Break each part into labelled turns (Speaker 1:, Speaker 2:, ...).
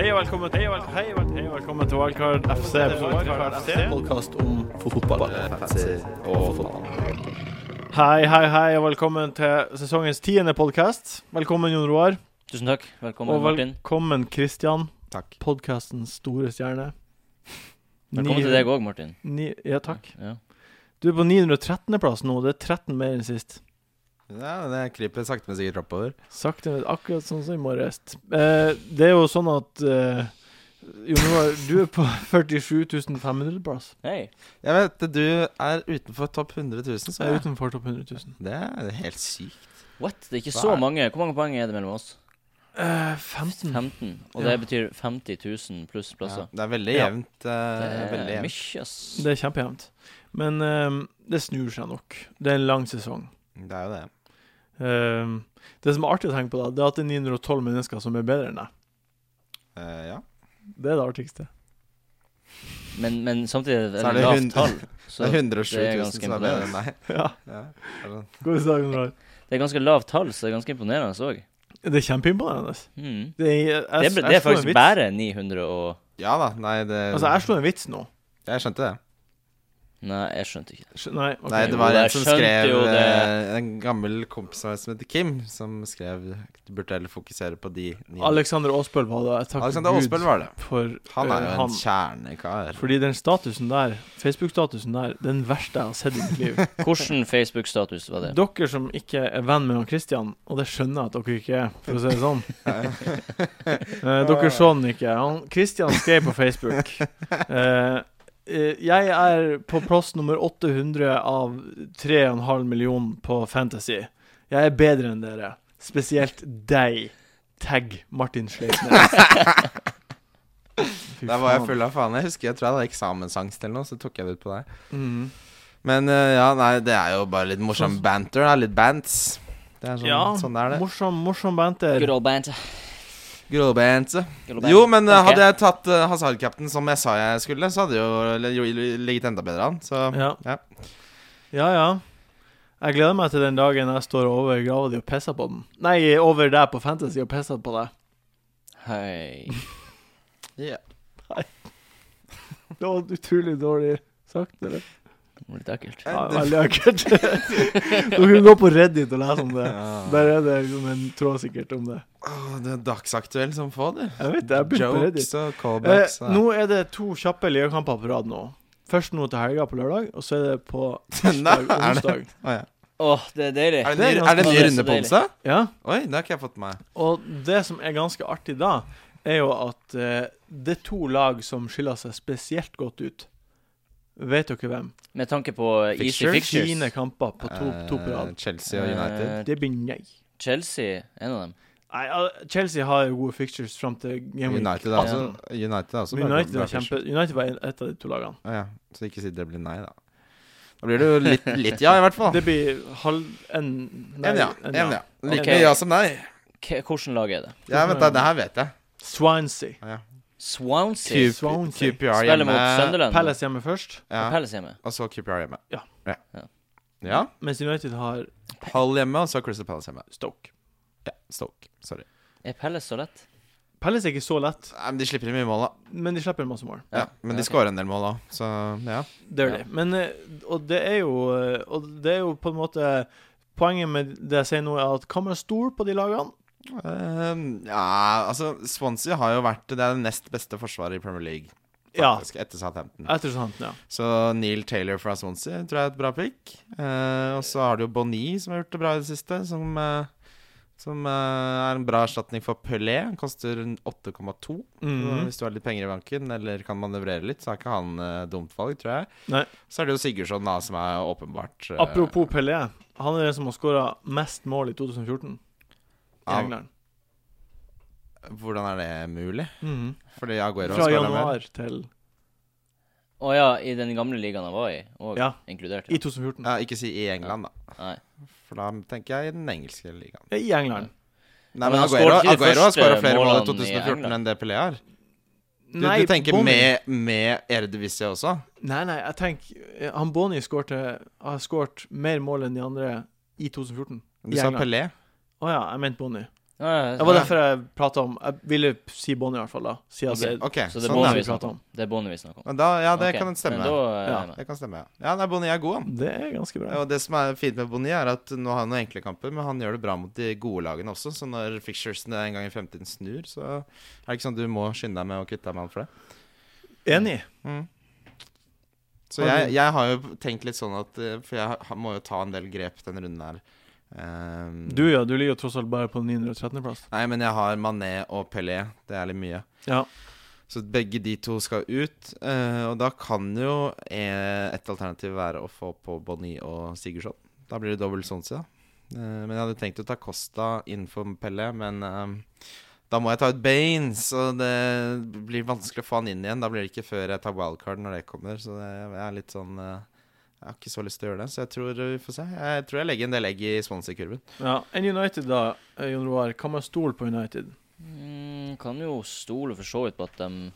Speaker 1: Hei og velkommen, hei og velkommen, hei og velkommen, hei og velkommen til Wildcard FC. Wildcard FC.
Speaker 2: podkast om fotball.
Speaker 3: Eh,
Speaker 2: og fotball.
Speaker 1: Hei, hei, hei og velkommen til sesongens tiende podkast. Velkommen, Jon Roar.
Speaker 3: Tusen takk. Velkommen,
Speaker 1: Og
Speaker 3: Martin.
Speaker 1: velkommen, Kristian.
Speaker 2: Takk.
Speaker 1: Podkastens store stjerne.
Speaker 3: Velkommen til deg òg, Martin.
Speaker 1: Ni, ja, takk.
Speaker 3: Ja.
Speaker 1: Du er på 913.-plass nå. Det er 13 mer enn sist.
Speaker 2: Ja, det kryper sakte, men sikkert oppover.
Speaker 1: Sakte, men akkurat sånn som i morges. Eh, det er jo sånn at eh, Jon Roar, du er på 47.500-plass.
Speaker 3: Hei.
Speaker 2: Jeg vet det, du er utenfor topp 100 000,
Speaker 1: Så
Speaker 2: så
Speaker 1: jeg er Eh,
Speaker 2: jeg
Speaker 1: utenfor topp 100 000.
Speaker 2: Det er det er helt sykt.
Speaker 3: What? Det er ikke
Speaker 2: Hva
Speaker 3: så
Speaker 2: er-
Speaker 3: mange. Hvor mange poeng er det mellom oss?
Speaker 1: Eh, 15.
Speaker 3: 15. Og
Speaker 1: Ja.
Speaker 3: det betyr 50 000 pluss plasser.
Speaker 2: det er veldig
Speaker 1: Ja.
Speaker 2: jevnt. eh, veldig
Speaker 3: Det er
Speaker 2: jevnt.
Speaker 3: mye, ass.
Speaker 1: Det er kjempejevnt. Men ehm, det snur seg nok. Det er en lang sesong.
Speaker 2: Det er jo det.
Speaker 1: Ehm, det som er artig å tenke på, da, det er at det er 912 mennesker som er bedre enn deg.
Speaker 2: Eh, ja.
Speaker 1: Det er det artigste.
Speaker 3: Men, men samtidig er
Speaker 2: Så er
Speaker 3: det
Speaker 2: det
Speaker 3: lavt
Speaker 2: hund-
Speaker 3: tall.
Speaker 2: Det
Speaker 3: Så
Speaker 2: er 107
Speaker 3: det er
Speaker 2: 000
Speaker 3: ganske
Speaker 2: som er bedre enn deg.
Speaker 1: Ja,
Speaker 2: Ja. det er sånn.
Speaker 1: god dag, Gunnar.
Speaker 3: det er ganske lavt tall, så det er ganske imponerende òg.
Speaker 1: Det er kjempeimponerende.
Speaker 3: Mm.
Speaker 1: Det, er- jeg,
Speaker 3: Det, er-
Speaker 1: jeg,
Speaker 3: det er
Speaker 1: slo en
Speaker 3: faktisk
Speaker 1: vits.
Speaker 3: bare 900 og
Speaker 2: Ja da. Nei, det
Speaker 1: Altså, jeg slo en vits nå.
Speaker 2: Jeg skjønte det.
Speaker 3: Nei, jeg skjønte ikke.
Speaker 1: Sk- Nei, ok.
Speaker 2: Nei, det
Speaker 3: Jo,
Speaker 2: var en
Speaker 3: jeg
Speaker 2: som
Speaker 3: skjønte
Speaker 2: skrev
Speaker 3: jo det.
Speaker 2: eh, En gammel kompis av meg som heter Kim, som skrev Du burde heller fokusere på de ni.
Speaker 1: Alexander Aasbøl var det. Jeg takker
Speaker 2: Alexander
Speaker 1: Gud
Speaker 2: Aasbøl var det.
Speaker 1: for
Speaker 2: Han er
Speaker 1: eh,
Speaker 2: jo en kjernekar.
Speaker 1: Fordi den statusen der, Facebook-statusen der, det er den verste jeg har sett i mitt liv.
Speaker 3: Hvordan Facebook-status var det?
Speaker 1: Dere som ikke er venn med han Christian, og det skjønner jeg at dere ikke er, for å si det sånn. Eh,
Speaker 2: Ah.
Speaker 1: dere så han ikke. Han, Christian skrev på Facebook eh, eh, Jeg er på plass nummer 800 av 3,5 million på Fantasy. Jeg er bedre enn dere. Spesielt deg. Tag Martin Sleipnes. Fy
Speaker 2: Der var jeg
Speaker 1: faen.
Speaker 2: full av faen. Jeg husker jeg tror jeg hadde eksamensangst eller noe, så tok jeg det ut på deg.
Speaker 1: Mhm.
Speaker 2: Men eh, ja, nei, det er jo bare litt morsom banter. Da. Litt bants. Det er sånn,
Speaker 1: Ja,
Speaker 2: sånn er det.
Speaker 1: morsom, morsom banter.
Speaker 3: Good old band.
Speaker 2: Gråbant.
Speaker 3: Good old band.
Speaker 2: Jo, men eh,
Speaker 3: Ok.
Speaker 2: hadde jeg tatt uh, Hazard-captain som jeg sa jeg skulle, så hadde det jo eller, jo ligget enda bedre an. Så
Speaker 1: Ja.
Speaker 2: Ja.
Speaker 1: ja, ja. Jeg gleder meg til den dagen jeg står over grava di og pisser på den. Nei, over deg på Fantasy og pisser på deg.
Speaker 3: Hei.
Speaker 1: Det var utrolig dårlig sagt, eller?
Speaker 3: Det var litt ekkelt.
Speaker 1: Ja, veldig ekkelt. Du kan gå på Reddit og lese om det. Der er det liksom en tråd sikkert om det.
Speaker 2: Åh, det er dagsaktuell som få, du.
Speaker 1: Jeg vet det, jeg begynte på Reddit.
Speaker 2: Jokes og
Speaker 1: Eh,
Speaker 2: callbacks. og-
Speaker 1: nå er det to kjappe ligakamper på rad nå. Først nå til helga på lørdag, og så er det på tirsdag og
Speaker 2: Nei, er det-
Speaker 1: onsdag.
Speaker 2: Å, ja.
Speaker 3: Åh, det er deilig.
Speaker 2: Er det,
Speaker 1: Det er
Speaker 2: ny- er det en ny
Speaker 3: ganske-
Speaker 2: runde på
Speaker 3: det er så
Speaker 2: onsdag?
Speaker 1: Ja.
Speaker 2: Oi, det har ikke jeg fått med meg.
Speaker 1: Og det som er ganske artig da, er jo at eh, det er to lag som skiller seg spesielt godt ut. Vet dere hvem?
Speaker 3: Med tanke på easy
Speaker 2: Fixtures?
Speaker 3: fixtures.
Speaker 1: Fine kamper på to, to på
Speaker 2: Eh,
Speaker 1: rad.
Speaker 2: Chelsea og United.
Speaker 3: Eh,
Speaker 1: Det blir nei.
Speaker 3: Chelsea, en av dem.
Speaker 1: Nei, al- Chelsea har jo gode fixtures fram til Game Week.
Speaker 2: United er
Speaker 3: Ja.
Speaker 2: også, United er også
Speaker 1: Men
Speaker 2: bra-
Speaker 1: United
Speaker 2: bra
Speaker 1: var, kjempe, United var et av de to lagene.
Speaker 2: Å ja. Så ikke si det blir nei, da. Da blir det jo litt, litt ja, i hvert fall.
Speaker 1: Det blir halv en nei,
Speaker 2: Ah. En ja.
Speaker 1: en
Speaker 2: En ja. Like
Speaker 3: Ok.
Speaker 2: mye ja som nei.
Speaker 3: K hvordan lag er det?
Speaker 2: Ja, vent, da. Det her vet jeg.
Speaker 1: Swansea.
Speaker 3: Swansea
Speaker 1: Q- Swansea.
Speaker 2: QPR
Speaker 3: spiller mot
Speaker 2: hjemme.
Speaker 3: Sunderland.
Speaker 1: Palace hjemme først,
Speaker 2: Ja,
Speaker 3: Og Palace hjemme.
Speaker 2: og så QPR hjemme.
Speaker 1: Ja.
Speaker 2: ja.
Speaker 3: Ja.
Speaker 2: Ja.
Speaker 1: mens United har
Speaker 2: Hull hjemme, og så Crystal Palace hjemme.
Speaker 1: Stoke.
Speaker 2: Ja, Stoke. Sorry.
Speaker 3: Er Palace så lett?
Speaker 1: Palace er ikke så lett,
Speaker 2: Nei, men de slipper inn mye mål, da.
Speaker 1: men de slipper en masse mål.
Speaker 2: Ja, men de
Speaker 3: ok.
Speaker 2: scorer en del mål òg, så ja.
Speaker 1: Det er
Speaker 3: Ja.
Speaker 1: det. Men, eh, og det er jo eh, Og det er jo på en måte Poenget med det jeg sier nå, er at kan man stole på de lagene?
Speaker 2: Ehm, ja, altså Swansea har jo vært Det er det nest beste forsvaret i Premier League,
Speaker 1: Ja.
Speaker 2: faktisk, etter Southampton.
Speaker 1: Etter sånt, ja.
Speaker 2: Så Neil Taylor fra Swansea tror jeg er et bra pick. Eh, og så har du jo Bonny, som har gjort det bra i det siste. Som, eh, som eh, er en bra erstatning for Pelé. Han koster 8,2. Så
Speaker 1: Mhm.
Speaker 2: Hvis du har litt penger i banken eller kan manøvrere litt, så er ikke han eh, dumt valg, tror jeg.
Speaker 1: Nei.
Speaker 2: Så er det jo Sigurdsson, da, som er åpenbart eh,
Speaker 1: Apropos Pelé. Han er den som har skåra mest mål i 2014 i
Speaker 2: av-
Speaker 1: England.
Speaker 2: Hvordan er det mulig?
Speaker 1: Mhm.
Speaker 2: Fordi Aguero
Speaker 1: Fra
Speaker 2: scoret
Speaker 1: januar til
Speaker 3: Å ja, i den gamle ligaen han var i, og
Speaker 1: Ja.
Speaker 3: inkludert.
Speaker 1: I 2014.
Speaker 2: Ja, ikke si i England, da.
Speaker 3: Nei.
Speaker 2: For da tenker jeg i den engelske ligaen.
Speaker 1: I England.
Speaker 2: Nei,
Speaker 3: Men
Speaker 2: men
Speaker 3: han
Speaker 2: Aguero,
Speaker 3: skåret ikke de
Speaker 2: Aguero har
Speaker 3: første
Speaker 2: skåra flere mål i
Speaker 3: målene i
Speaker 2: 2014
Speaker 3: England.
Speaker 2: enn det Pelé har. Du,
Speaker 1: Nei,
Speaker 2: du tenker
Speaker 1: Bonny-
Speaker 2: med, med Eredivisie også?
Speaker 1: Nei, nei, jeg tenker eh, Han Bonnie skårte- har skåret mer mål enn de andre i 2014.
Speaker 2: Du
Speaker 1: I
Speaker 2: sa
Speaker 1: England.
Speaker 2: Pelé.
Speaker 1: Å ja, jeg mente Bonnie.
Speaker 3: Ja, ja,
Speaker 1: Det var derfor jeg prata om Jeg ville si Bonnie, i hvert fall. da Siden
Speaker 2: Ok,
Speaker 1: det,
Speaker 2: ok,
Speaker 3: Så det er
Speaker 1: Bonnie
Speaker 2: sånn ja.
Speaker 3: Bonnie vi
Speaker 1: vi
Speaker 3: snakker
Speaker 1: prater
Speaker 3: om. Det er Bonnie vi snakker om.
Speaker 2: Men da, ja, det
Speaker 3: Ok,
Speaker 2: kan stemme.
Speaker 3: Men da eh, er jeg
Speaker 1: Ja.
Speaker 3: med.
Speaker 2: Det kan stemme, ja. Ja, nei, Bonnie er god, han.
Speaker 1: Det er ganske bra.
Speaker 2: Og det som er fint med Bonnie, er at nå har han noen enkle kamper, men han gjør det bra mot de gode lagene også. Så når fixturesene en gang i fremtiden snur, så er det ikke sånn at du må skynde deg med å kvitte deg med han for det.
Speaker 1: Enig.
Speaker 2: Mm. Så jeg, jeg har jo tenkt litt sånn at eh, For jeg har- må jo ta en del grep denne runden her. Ehm,
Speaker 1: Du ja, du ligger jo tross alt bare på 913.-plass.
Speaker 2: Nei, men jeg har Mané og Pelé. Det er litt mye.
Speaker 1: Ja.
Speaker 2: Så begge de to skal ut. eh, og da kan jo eh, et alternativ være å få på Bonnie og Sigurdsson. Da blir det dobbel sånn side. men jeg hadde tenkt å ta Costa innenfor Pelle, men eh, da må jeg ta ut Bane, så det blir vanskelig å få han inn igjen. Da blir det ikke før jeg tar wildcard når det kommer, så det, jeg er litt sånn eh, Jeg har ikke så lyst til å gjøre det, så jeg tror vi får se. Jeg tror jeg legger en del egg i Swansea-kurven.
Speaker 1: ja. Enn United, da, eh, Jon Roar. Kan man stole på United?
Speaker 3: Mm, kan jo stole for så vidt på at de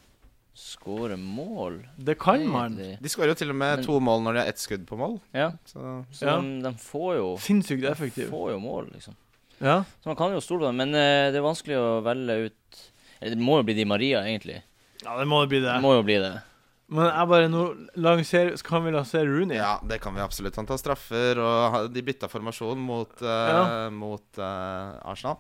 Speaker 3: skårer mål.
Speaker 1: Det kan man.
Speaker 3: egentlig.
Speaker 2: De skårer jo til og med
Speaker 3: Men-
Speaker 2: to mål når de har ett skudd på mål,
Speaker 3: Ja,
Speaker 2: så
Speaker 3: så
Speaker 1: Ja.
Speaker 3: de, de får jo
Speaker 1: Sinnssykt
Speaker 3: de
Speaker 1: effektiv.
Speaker 3: får jo mål, liksom.
Speaker 1: Ja.
Speaker 3: Så man kan jo stole på dem, men eh, det er vanskelig å velge ut Eller Det må jo bli Di Maria, egentlig.
Speaker 1: ja, det må det bli det.
Speaker 3: Det må jo bli det.
Speaker 1: Men jeg bare nå lanserer Så kan vi lansere Rooney?
Speaker 2: Ja, det kan vi absolutt. Han tar straffer, og ha- de bytta formasjon mot, eh, mot eh, Arsenal.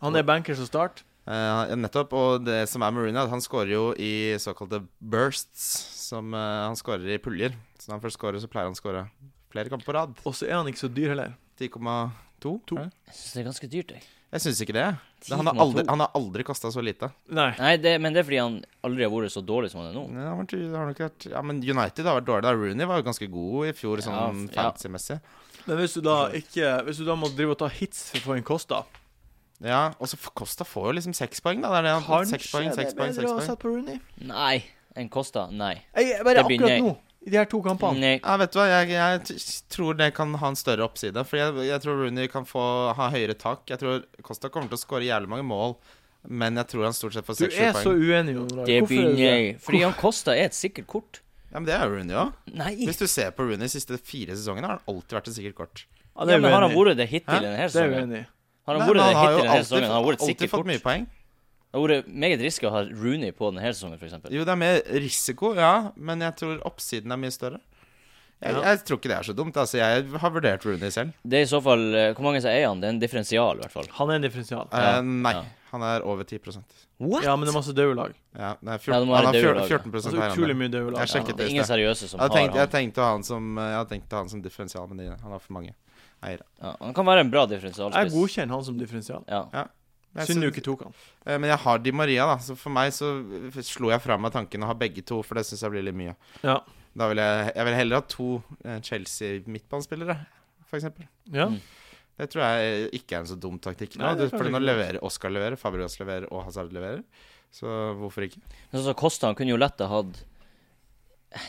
Speaker 1: Han er bankers og start.
Speaker 2: Eh, nettopp. Og det som er med Rooney, er at han skårer jo i såkalte bursts. Som eh, han skårer i puljer. Så når han først skårer, så pleier han å skåre flere kamper på rad.
Speaker 1: Og så er han ikke så dyr heller.
Speaker 2: 10,2.
Speaker 1: To.
Speaker 2: er det?
Speaker 3: Jeg syns det er ganske dyrt, jeg.
Speaker 2: Eh, Jeg syns ikke det. Det- Han har aldri,
Speaker 3: 10,2.
Speaker 2: han har aldri kosta så lite.
Speaker 1: Nei.
Speaker 3: Nei, det, men det er fordi han aldri har vært så dårlig som han er nå.
Speaker 2: Ja, men, det har nok vært, ja, men United har vært dårlig. da. Rooney var jo ganske god i fjor, sånn
Speaker 3: Ja, ja.
Speaker 2: fancy-messig.
Speaker 1: Men hvis du da ikke Hvis du da må drive og ta hits for å få inn Kosta
Speaker 2: Ja, og så Costa får jo liksom seks poeng, da. Det er det han har fått. Seks poeng, seks poeng, seks poeng.
Speaker 1: sette på Rooney?
Speaker 3: Nei. En Kosta? Nei.
Speaker 1: Jeg, bare
Speaker 3: Det begynner Mm,
Speaker 1: akkurat
Speaker 3: jeg.
Speaker 1: nå, i de her to kampene.
Speaker 3: Nei.
Speaker 2: Ja, vet du hva, jeg, jeg t- tror det kan ha en større oppside. For jeg, jeg tror Rooney kan få, ha høyere tak. Jeg tror Costa kommer til å skåre jævlig mange mål, men jeg tror han stort sett får
Speaker 1: Du er
Speaker 2: 6-7
Speaker 1: så
Speaker 2: poeng.
Speaker 1: uenig, Jon Roar.
Speaker 3: Det
Speaker 1: Hvorfor er du det?
Speaker 3: begynner jeg. Fordi han Kosta er et sikkert kort.
Speaker 2: Ja, men det er jo Rooney òg.
Speaker 3: Nei.
Speaker 2: Hvis du ser på Rooney de siste fire sesongene, har han alltid vært et sikkert kort.
Speaker 1: Ja,
Speaker 3: Ja,
Speaker 1: det er
Speaker 3: men har han
Speaker 1: uenig.
Speaker 3: vært det
Speaker 2: Hæ?
Speaker 3: hittil i denne
Speaker 1: Det er
Speaker 3: sesongen?
Speaker 1: uenig.
Speaker 3: Har
Speaker 2: Nei,
Speaker 3: han vært
Speaker 2: men
Speaker 3: det hittil i denne
Speaker 2: alltid,
Speaker 3: sesongen? Han har vært et
Speaker 2: alltid
Speaker 3: sikkert
Speaker 2: fått
Speaker 3: kort.
Speaker 2: mye poeng.
Speaker 3: Det har vært meget risky å ha Rooney på denne sesongen, f.eks.
Speaker 2: Jo, det er mer risiko, ja, men jeg tror oppsiden er mye større. Jeg,
Speaker 1: Ja.
Speaker 2: jeg tror ikke det er så dumt. Altså, jeg har vurdert Rooney selv.
Speaker 3: Det er i så fall eh, Hvor mange som er han? Det er en differensial, i hvert fall.
Speaker 1: Han er en differensial.
Speaker 2: Eh,
Speaker 3: Ja,
Speaker 2: nei,
Speaker 3: ja.
Speaker 2: han er over 10
Speaker 3: What?
Speaker 1: Ja, men det er masse døde lag.
Speaker 2: ja, det er 14,
Speaker 3: Ja, det må være
Speaker 2: Han har
Speaker 3: det
Speaker 2: fjor-
Speaker 3: laget.
Speaker 2: 14
Speaker 1: Altså,
Speaker 2: høyere enn det.
Speaker 1: utrolig mye døde
Speaker 2: Jeg
Speaker 1: lag.
Speaker 2: sjekket
Speaker 3: det
Speaker 2: det
Speaker 3: er
Speaker 2: i
Speaker 3: ingen
Speaker 2: sted.
Speaker 3: seriøse som
Speaker 2: Jeg tenkte,
Speaker 3: har
Speaker 2: jeg
Speaker 3: han.
Speaker 2: tenkte å ha han som Jeg tenkte å ha han som differensial, men de- han har for mange eiere.
Speaker 3: Ja, han kan være en bra
Speaker 1: Jeg
Speaker 3: differensialspiss.
Speaker 1: godkjenner han som differensial.
Speaker 3: Ja.
Speaker 2: Jeg
Speaker 1: Synd du
Speaker 2: syns-
Speaker 1: ikke tok han.
Speaker 2: eh, Men jeg har Di Maria, da. Så for meg så eh, slo jeg fra meg tanken å ha begge to, for det syns jeg blir litt mye.
Speaker 1: Ja.
Speaker 2: Da vil jeg, jeg vil heller ha to eh, Chelsea-midtbanespillere, for eksempel
Speaker 1: Ja.
Speaker 3: Mm.
Speaker 2: Det tror jeg eh, ikke er en så dum taktikk.
Speaker 1: Nei,
Speaker 2: Nå.
Speaker 1: det
Speaker 2: Du,
Speaker 1: er
Speaker 2: fordi
Speaker 1: kanskje
Speaker 2: nå
Speaker 1: ikke
Speaker 2: leverer Oscar leverer, Fabregas leverer, og Hazard leverer. Så hvorfor ikke?
Speaker 3: Men sånn som Kosta, han kunne jo lett ha hatt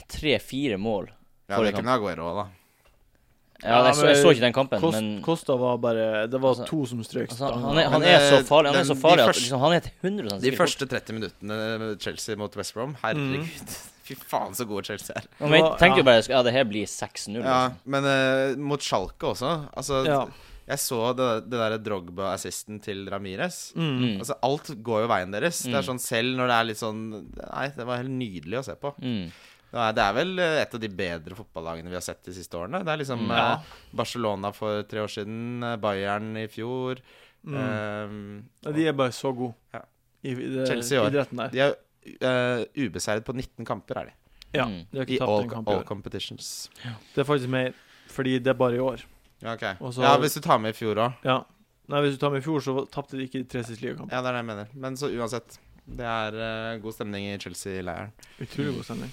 Speaker 3: tre-fire mål.
Speaker 2: Ja,
Speaker 3: Forrige
Speaker 2: det kunne Aguero òg, da.
Speaker 3: Ja,
Speaker 1: Ja,
Speaker 3: jeg, så,
Speaker 1: men-
Speaker 3: jeg så ikke den kampen,
Speaker 1: Kost,
Speaker 3: men
Speaker 1: Kosta var bare Det var
Speaker 3: Altså,
Speaker 1: to som strøk.
Speaker 3: altså, han, han, er, han
Speaker 2: Men,
Speaker 3: er så
Speaker 2: eh,
Speaker 3: farlig Han er
Speaker 2: den-
Speaker 3: så
Speaker 2: de
Speaker 3: farlig at
Speaker 2: første-
Speaker 3: liksom, han er et 100
Speaker 2: De
Speaker 3: sikkert
Speaker 2: første 30 minuttene med Chelsea mot West Brom, herregud.
Speaker 1: Mm.
Speaker 2: Fy faen, så gode Chelsea er.
Speaker 3: kort. Og men,
Speaker 1: Ja, ja.
Speaker 3: tenker jo bare Ja, det her blir 6-0.
Speaker 2: Ja,
Speaker 3: liksom.
Speaker 2: men eh, mot Schalke også. Altså,
Speaker 1: Ja.
Speaker 2: jeg så det, det derre Drogba-assisten til Ramirez.
Speaker 1: Mm.
Speaker 2: Altså, alt går jo veien deres. Det
Speaker 3: Mm.
Speaker 2: er sånn selv når det er litt sånn Nei, det var helt nydelig å se på.
Speaker 3: Mm.
Speaker 2: Det er, det er vel eh, et av de bedre fotballagene vi har sett de siste årene. Det er liksom
Speaker 3: Mm.
Speaker 1: Ja.
Speaker 2: eh, Barcelona for tre år siden, eh, Bayern i fjor
Speaker 1: Mm.
Speaker 2: eh,
Speaker 1: Ja, De er bare så gode
Speaker 2: Ja.
Speaker 1: i, i det,
Speaker 2: Chelsea i år.
Speaker 1: idretten der.
Speaker 2: De er eh, ubeseiret på 19 kamper, er de.
Speaker 1: Ja,
Speaker 3: Mm.
Speaker 1: de har
Speaker 2: I
Speaker 1: ikke tapt
Speaker 2: all,
Speaker 1: en kamp i
Speaker 2: all
Speaker 1: år.
Speaker 2: competitions.
Speaker 1: Det er faktisk mer fordi det er bare i år.
Speaker 2: Ja, ok.
Speaker 1: Og så-
Speaker 2: ja, hvis du tar med i fjor òg.
Speaker 1: Ja. Nei, Hvis du tar med i fjor, så tapte de ikke de tre siste ligakampene.
Speaker 2: Ja, det er det jeg mener. Men så uansett. Det er eh, god stemning i Chelsea-leiren.
Speaker 1: Utrolig god stemning.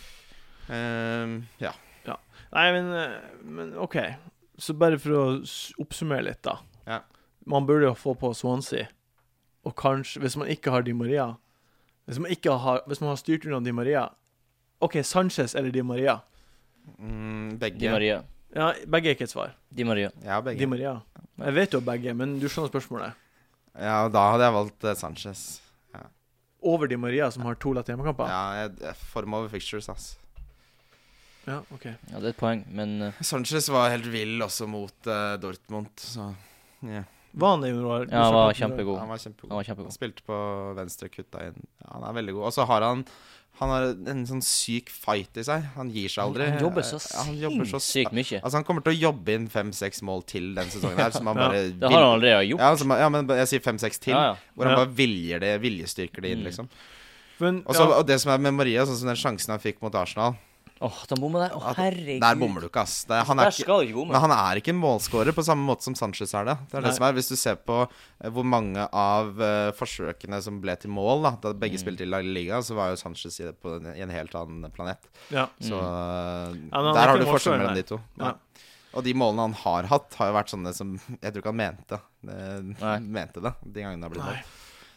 Speaker 2: Ehm, ja.
Speaker 1: Nei, men, eh, men OK. Så bare for å s- oppsummere litt, da.
Speaker 2: Ja.
Speaker 1: Man burde jo få på Swansea, og kanskje Hvis man ikke har Di Maria Hvis man, ikke har, hvis man har styrt unna Di Maria OK, Sanchez eller Di Maria?
Speaker 2: Mm, begge.
Speaker 3: Di Maria.
Speaker 1: Ja, begge er ikke et svar.
Speaker 3: Di Maria.
Speaker 2: Ja,
Speaker 1: Di
Speaker 2: begge.
Speaker 1: Maria. Jeg vet jo begge, men du skjønner spørsmålet.
Speaker 2: Ja, og da hadde jeg valgt eh, Sanchez.
Speaker 1: Over Di Maria, som har to lette hjemmekamper?
Speaker 2: Ja, jeg, jeg form over fixtures, ass.
Speaker 1: Ja, ok.
Speaker 3: Ja, det er et poeng, men eh,
Speaker 2: Sanchez var helt vill også mot eh, Dortmund, så ja.
Speaker 1: Var han det i junior?
Speaker 3: Ja, han
Speaker 1: Du snakket om
Speaker 3: var
Speaker 1: junior.
Speaker 3: kjempegod.
Speaker 2: Han var kjempegod.
Speaker 3: Han var
Speaker 2: Han
Speaker 3: kjempegod.
Speaker 2: spilte på venstre kutta inn. Han er veldig god. Og så har han Han har en sånn syk fight i seg. Han gir seg
Speaker 3: Han-
Speaker 2: aldri.
Speaker 3: han jobber så
Speaker 2: Eh, han jobber så
Speaker 3: Sykt mye.
Speaker 2: Altså, han kommer til å jobbe inn fem-seks mål til den sesongen her, som han
Speaker 1: Ja.
Speaker 2: bare
Speaker 3: Det har han allerede gjort.
Speaker 2: Ja, som, ja, men jeg sier fem-seks til,
Speaker 3: Ja, ja.
Speaker 2: hvor han
Speaker 1: Ja.
Speaker 2: bare viljer det, viljestyrker det inn,
Speaker 3: Mm.
Speaker 2: liksom.
Speaker 1: Men,
Speaker 2: Og så-
Speaker 1: ja,
Speaker 2: og det som er med Maria, sånn som den sjansen han fikk mot Arsenal
Speaker 3: Åh, da bommer der. Å,
Speaker 2: at-
Speaker 3: herregud.
Speaker 2: Der bommer du ikke, ass. Det, han er
Speaker 3: Der
Speaker 2: ikke
Speaker 3: skal du ikke bomme.
Speaker 2: men han er ikke en målskårer på samme måte som Sanchez er det. Det er
Speaker 1: Nei.
Speaker 2: det som er Hvis du ser på eh, hvor mange av eh, forsøkene som ble til mål da da
Speaker 1: Mm.
Speaker 2: begge spilte i La Liga, så var jo Sanchez i, på en, i en helt annen planet.
Speaker 1: ja.
Speaker 2: Så
Speaker 1: Mm. Ja,
Speaker 2: eh,
Speaker 1: men han er
Speaker 2: der
Speaker 1: ikke
Speaker 2: har du
Speaker 1: en målskårer,
Speaker 2: forskjell mellom
Speaker 1: nei.
Speaker 2: de to.
Speaker 1: Ja.
Speaker 2: Nei. Og de målene han har hatt, har jo vært sånne som Jeg tror ikke han mente det.
Speaker 3: Nei.
Speaker 2: Mente det de gangene det har blitt
Speaker 1: Nei.
Speaker 2: mål.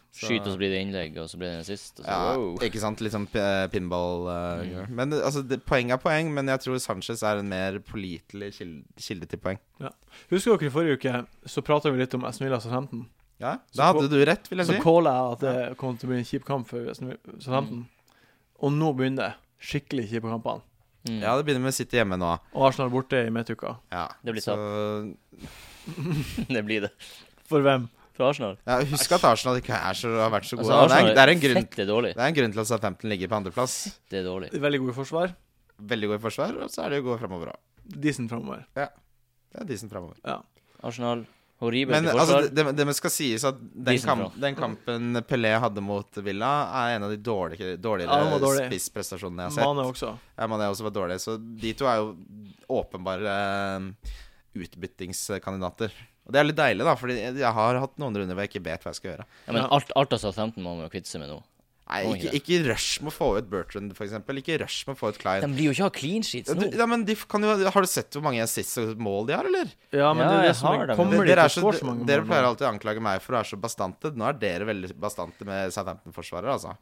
Speaker 2: Så-
Speaker 3: Skyt, og så blir det innlegg, og så blir det en assist. Og så,
Speaker 2: ja,
Speaker 3: wow. Mm.
Speaker 2: Ikke sant? Litt sånn eh, pinball eh, gjør. Men eh, altså, det, poeng er poeng, men jeg tror Sanchez er en mer pålitelig kilde, kilde til poeng.
Speaker 1: Husker dere i forrige uke, så prata vi litt om Aston Villa Southampton.
Speaker 2: Ja,
Speaker 1: Så
Speaker 2: Da
Speaker 1: på-
Speaker 2: hadde du Mm. rett, vil jeg
Speaker 1: Så
Speaker 2: si.
Speaker 1: calla jeg at det kom til å bli en kjip kamp for Aston Villa Southampton. Og nå begynner det skikkelig kjipe kampene.
Speaker 3: Mm.
Speaker 2: Ja, det begynner med å sitte hjemme nå.
Speaker 1: Og Arsenal borte i midtuka.
Speaker 2: Ja.
Speaker 3: Det blir
Speaker 2: så,
Speaker 3: det blir det.
Speaker 1: For hvem?
Speaker 3: Fra Arsenal.
Speaker 2: ja, Husk at Arsenal ikke er så, har vært så gode.
Speaker 3: Altså,
Speaker 2: det,
Speaker 3: Arsenal
Speaker 2: er, det, er en grunn,
Speaker 3: fette dårlig.
Speaker 2: det er en grunn til at Southampton ligger på andreplass.
Speaker 3: Det er dårlig.
Speaker 1: Veldig gode forsvar.
Speaker 2: Veldig gode i forsvar, og så er de gode framover òg.
Speaker 1: Decent framover.
Speaker 2: Det er decent framover.
Speaker 1: Ja.
Speaker 3: Arsenal, horribelt
Speaker 2: Men
Speaker 3: i
Speaker 2: altså,
Speaker 3: forsvar.
Speaker 2: det, det det skal sies at den,
Speaker 3: Decent
Speaker 2: kamp, den kampen Pelé hadde mot Villa, er en av de dårlige, dårligere
Speaker 1: Ja, han var dårlig.
Speaker 2: spissprestasjonene jeg har sett.
Speaker 1: Mane også.
Speaker 2: Ja, Mané også var dårlig, så de to er jo åpenbare eh, utbyttingskandidater. Og det er litt deilig, da, Fordi jeg har hatt noen runder hvor jeg ikke vet hva jeg skal gjøre.
Speaker 3: Ja, men
Speaker 1: Ja.
Speaker 3: alt, alt av Southampton må man jo kvitte seg med nå.
Speaker 2: Nei,
Speaker 3: Oi,
Speaker 2: ikke,
Speaker 3: ja.
Speaker 2: ikke rush med å få ut Bertrand, for eksempel Ikke rush med å få ut
Speaker 3: De
Speaker 2: Klein.
Speaker 3: blir jo ikke ha clean sheets
Speaker 2: Du,
Speaker 3: nå.
Speaker 2: ja, men de kan jo, har du sett hvor mange assists og mål de har, eller?
Speaker 1: Ja, men det
Speaker 3: Ja,
Speaker 1: er det
Speaker 3: jeg
Speaker 1: som
Speaker 3: har
Speaker 1: er,
Speaker 3: dem.
Speaker 1: kommer de til
Speaker 2: dere, er
Speaker 1: å
Speaker 2: så,
Speaker 1: score så mange
Speaker 2: dere
Speaker 1: mål nå?
Speaker 2: pleier alltid å anklage meg for å være så bastante. Nå er dere veldig bastante med Southampton-forsvarer, altså.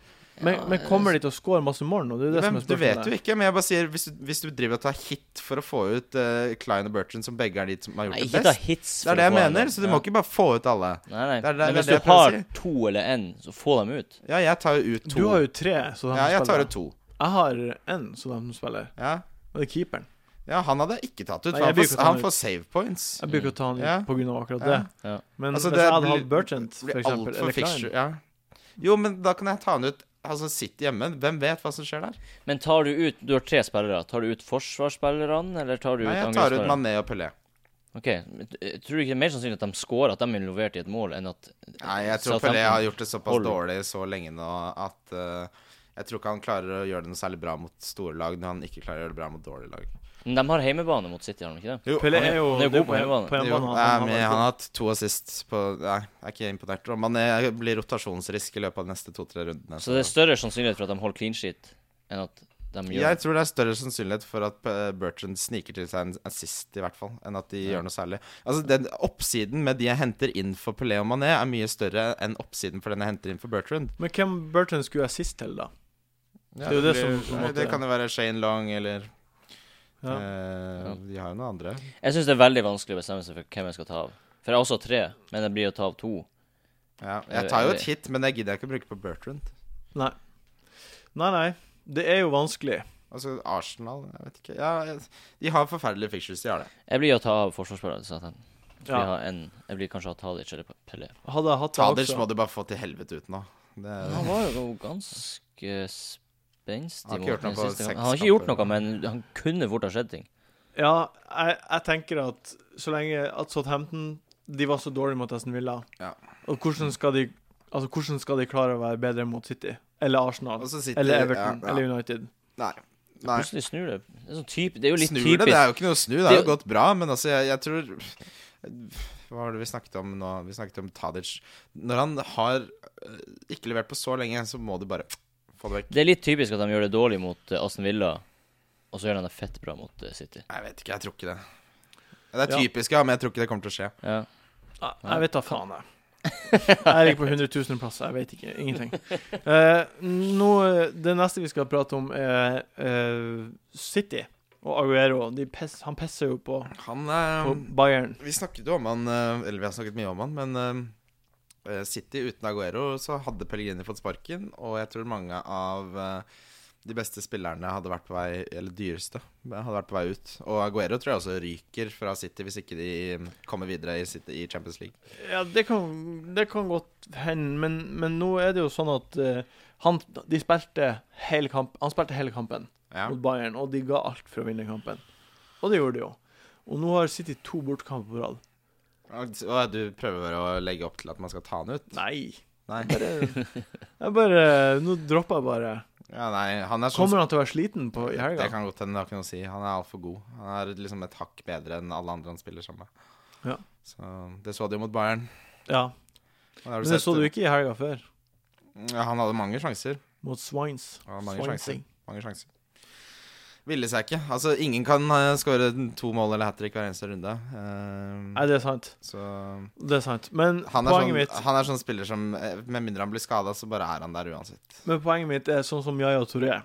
Speaker 1: Men, men kommer de til å score masse mål nå? Det er jo det
Speaker 2: Men,
Speaker 1: som er
Speaker 2: du vet jo
Speaker 1: spørsmålet.
Speaker 2: ikke, men jeg bare sier hvis du, hvis du driver og tar hit for å få ut eh, Klein og Bertrand, som begge er de som har gjort
Speaker 3: Nei,
Speaker 2: det
Speaker 3: ikke ta
Speaker 2: best
Speaker 3: hits.
Speaker 2: Det
Speaker 3: for
Speaker 2: er det
Speaker 3: å
Speaker 2: jeg
Speaker 3: få en
Speaker 2: mener,
Speaker 3: del.
Speaker 2: så du
Speaker 3: Ja.
Speaker 2: må ikke bare få ut alle.
Speaker 3: Nei, nei.
Speaker 2: Det er- det er-
Speaker 3: Men
Speaker 2: det er
Speaker 3: hvis
Speaker 2: det
Speaker 3: du
Speaker 2: jeg prøver å
Speaker 3: har to eller én, så få dem ut.
Speaker 2: Ja, jeg tar jo ut to.
Speaker 1: Du har jo tre Southampton-spillere.
Speaker 2: ja, jeg tar ut to.
Speaker 1: Jeg har én Southampton-spiller,
Speaker 2: Ja.
Speaker 1: og det er keeperen.
Speaker 2: ja, han hadde jeg ikke tatt ut,
Speaker 1: Nei,
Speaker 2: for
Speaker 1: jeg
Speaker 2: han
Speaker 1: blir
Speaker 2: får,
Speaker 1: ikke tatt
Speaker 2: han
Speaker 1: ut.
Speaker 2: får save points.
Speaker 1: Jeg bruker å ta han ut
Speaker 2: Mm. Ja.
Speaker 1: på grunn av akkurat det.
Speaker 2: Ja.
Speaker 3: Ja.
Speaker 1: Men
Speaker 2: Altså,
Speaker 1: hvis jeg hadde
Speaker 2: blir-
Speaker 1: hatt Bertrand,
Speaker 2: blir
Speaker 1: for eksempel,
Speaker 2: altfor
Speaker 1: eller Klein
Speaker 2: Fischer, ja. Jo, men da kan jeg ta han ut. Altså, sitt hjemme. Hvem vet hva som skjer der?
Speaker 3: Men tar du ut Du har tre spillere. Tar du ut forsvarsspillerne, eller tar du ut
Speaker 2: Nei, jeg tar ut
Speaker 3: angrepsspillerne?
Speaker 2: Mané og Pelé.
Speaker 3: Ok, men t- Tror du ikke det er mer sannsynlig at de scorer, at de er involvert i et mål, enn at
Speaker 2: Nei, jeg tror
Speaker 3: Southampton-
Speaker 2: Pelé har gjort det såpass
Speaker 3: Hold.
Speaker 2: dårlig så lenge nå at eh, jeg tror ikke han klarer å gjøre det noe særlig bra mot store lag når han ikke klarer å gjøre det bra mot dårlige lag.
Speaker 3: Men de har heimebane mot City, har de ikke det?
Speaker 2: Jo,
Speaker 1: Pelle
Speaker 2: han-
Speaker 1: er jo
Speaker 3: han er jo
Speaker 1: det er
Speaker 3: god på hjemmebane.
Speaker 1: På
Speaker 2: Jo,
Speaker 1: hjemmebane
Speaker 2: nei,
Speaker 1: han-
Speaker 2: men
Speaker 1: han-
Speaker 2: han har hatt to assist på Nei, jeg er ikke imponert. Og Mané blir rotasjonsrisk i løpet av de neste to-tre rundene.
Speaker 3: Så det er større sannsynlighet for at de holder clean sheet, enn at de gjør
Speaker 2: jeg tror det er større sannsynlighet for at eh, Bertrand sniker til seg en assist, i hvert fall, enn at de
Speaker 3: Ja.
Speaker 2: gjør noe særlig. Altså, den oppsiden med de jeg henter inn for Pelé og Mané, er mye større enn oppsiden for den jeg henter inn for Bertrand.
Speaker 1: Men hvem Bertrand skulle jeg sist til, da? Det er jo det som- på en
Speaker 2: Nei,
Speaker 1: måte-
Speaker 2: Det kan jo være Shane Long eller
Speaker 1: Ja.
Speaker 2: eh, De har jo noen andre.
Speaker 3: Jeg syns det er veldig vanskelig å bestemme seg for hvem jeg skal ta av. For jeg har også tre, men det blir å ta av to.
Speaker 2: Ja. Jeg tar jo et hit, men det gidder jeg ikke å bruke på Bertrand.
Speaker 1: Nei. Nei, nei. Det er jo vanskelig.
Speaker 2: Altså Arsenal, jeg vet ikke. Ja, jeg- de har forferdelige fictures, de har det.
Speaker 3: Jeg blir å ta av forsvarsspillere. til Southampton. Jeg blir,
Speaker 1: Ja.
Speaker 3: ha en, jeg blir kanskje å ha Tadic eller Pelé.
Speaker 1: Hadde jeg hatt det
Speaker 2: Tadic må
Speaker 1: også
Speaker 2: du bare få til helvete ut nå. Det,
Speaker 3: Han var jo ganske spenstig.
Speaker 2: Han har ikke
Speaker 3: mot
Speaker 2: gjort noe
Speaker 3: den
Speaker 2: på
Speaker 3: siste
Speaker 2: seks
Speaker 3: kampen. Han har ikke gjort
Speaker 2: kamper.
Speaker 3: noe, men han kunne fort ha skjedd ting.
Speaker 1: Ja, jeg, jeg tenker at så lenge at Southampton De var så dårlige mot Aston Villa.
Speaker 2: Ja.
Speaker 1: Og hvordan skal de Altså, hvordan skal de klare å være bedre mot City? Eller Arsenal?
Speaker 2: Og så sitter-
Speaker 1: Eller Everton?
Speaker 2: Altså, ja, ja.
Speaker 1: Eller United?
Speaker 2: Nei. Nei.
Speaker 3: Plutselig snur det. Det er, sånn typ, det er jo litt
Speaker 2: Snur det,
Speaker 3: typisk.
Speaker 2: det er jo ikke noe å snu. Det har jo
Speaker 3: Det-
Speaker 2: gått bra, men altså, jeg, jeg tror Hva var det vi snakket om nå? Vi snakket om Tadic. Når han har øh, ikke levert på så lenge, så må du bare få det vekk.
Speaker 3: Det er litt typisk at de gjør det dårlig mot eh, Aston Villa, og så gjør de det fett bra mot eh, City.
Speaker 2: Jeg vet ikke, jeg tror ikke det. Det er
Speaker 1: Ja.
Speaker 2: typisk, ja, men jeg tror ikke det kommer til å skje.
Speaker 3: Ja.
Speaker 1: Ja, jeg vet da faen, jeg. Jeg ligger på 100 000 plass. Jeg vet ikke. Ingenting. Eh, nå, eh, det neste vi skal prate om, er eh, City og Aguero. De pess, han pisser jo på,
Speaker 2: Han eh,
Speaker 1: på Bayern.
Speaker 2: Vi snakket jo om han eh, Eller vi har snakket mye om han, men eh, City uten Aguero så hadde Pellegrini fått sparken, og jeg tror mange av eh, de beste spillerne hadde vært på vei Eller dyreste hadde vært på vei ut. Og Aguero tror jeg også ryker fra City hvis ikke de mm, kommer videre i, City, i Champions League.
Speaker 1: Ja, det kan, det kan godt hende, men, men nå er det jo sånn at eh, han, de spilte hele kamp, han spilte hele kampen
Speaker 2: Ja.
Speaker 1: mot Bayern, og de ga alt for å vinne kampen. Og det gjorde de jo. Og nå har City to bortkamper på rad.
Speaker 2: Og du prøver å legge opp til at man skal ta han ut?
Speaker 1: Nei.
Speaker 2: Nei.
Speaker 1: Bare, jeg bare Nå dropper jeg bare.
Speaker 2: Ja, nei han er sånn
Speaker 1: Kommer han til å være sliten på, i
Speaker 2: Det
Speaker 1: helga?
Speaker 2: kan godt hende, det har ikke noe å si. Han er altfor god. Han er liksom et hakk bedre enn alle andre han spiller sammen med.
Speaker 1: Ja.
Speaker 2: Så det så du jo mot Bayern.
Speaker 1: Ja.
Speaker 2: Og har
Speaker 1: Men det
Speaker 2: sett-
Speaker 1: så du ikke i helga før,
Speaker 2: Ja, han hadde mange sjanser.
Speaker 1: mot Swines.
Speaker 2: Han hadde mange
Speaker 1: Swansea.
Speaker 2: sjanser. Mange sjanser. Ville seg ikke. Altså, ingen kan eh, skåre to mål eller hat trick hver eneste runde. Eh,
Speaker 1: Nei, det er sant.
Speaker 2: så
Speaker 1: Det er sant. Men
Speaker 2: han er,
Speaker 1: poenget
Speaker 2: sånn,
Speaker 1: mitt
Speaker 2: han er sånn spiller som eh, Med mindre han blir skada, så bare er han der uansett.
Speaker 1: Men poenget mitt er sånn som Yaya Touré,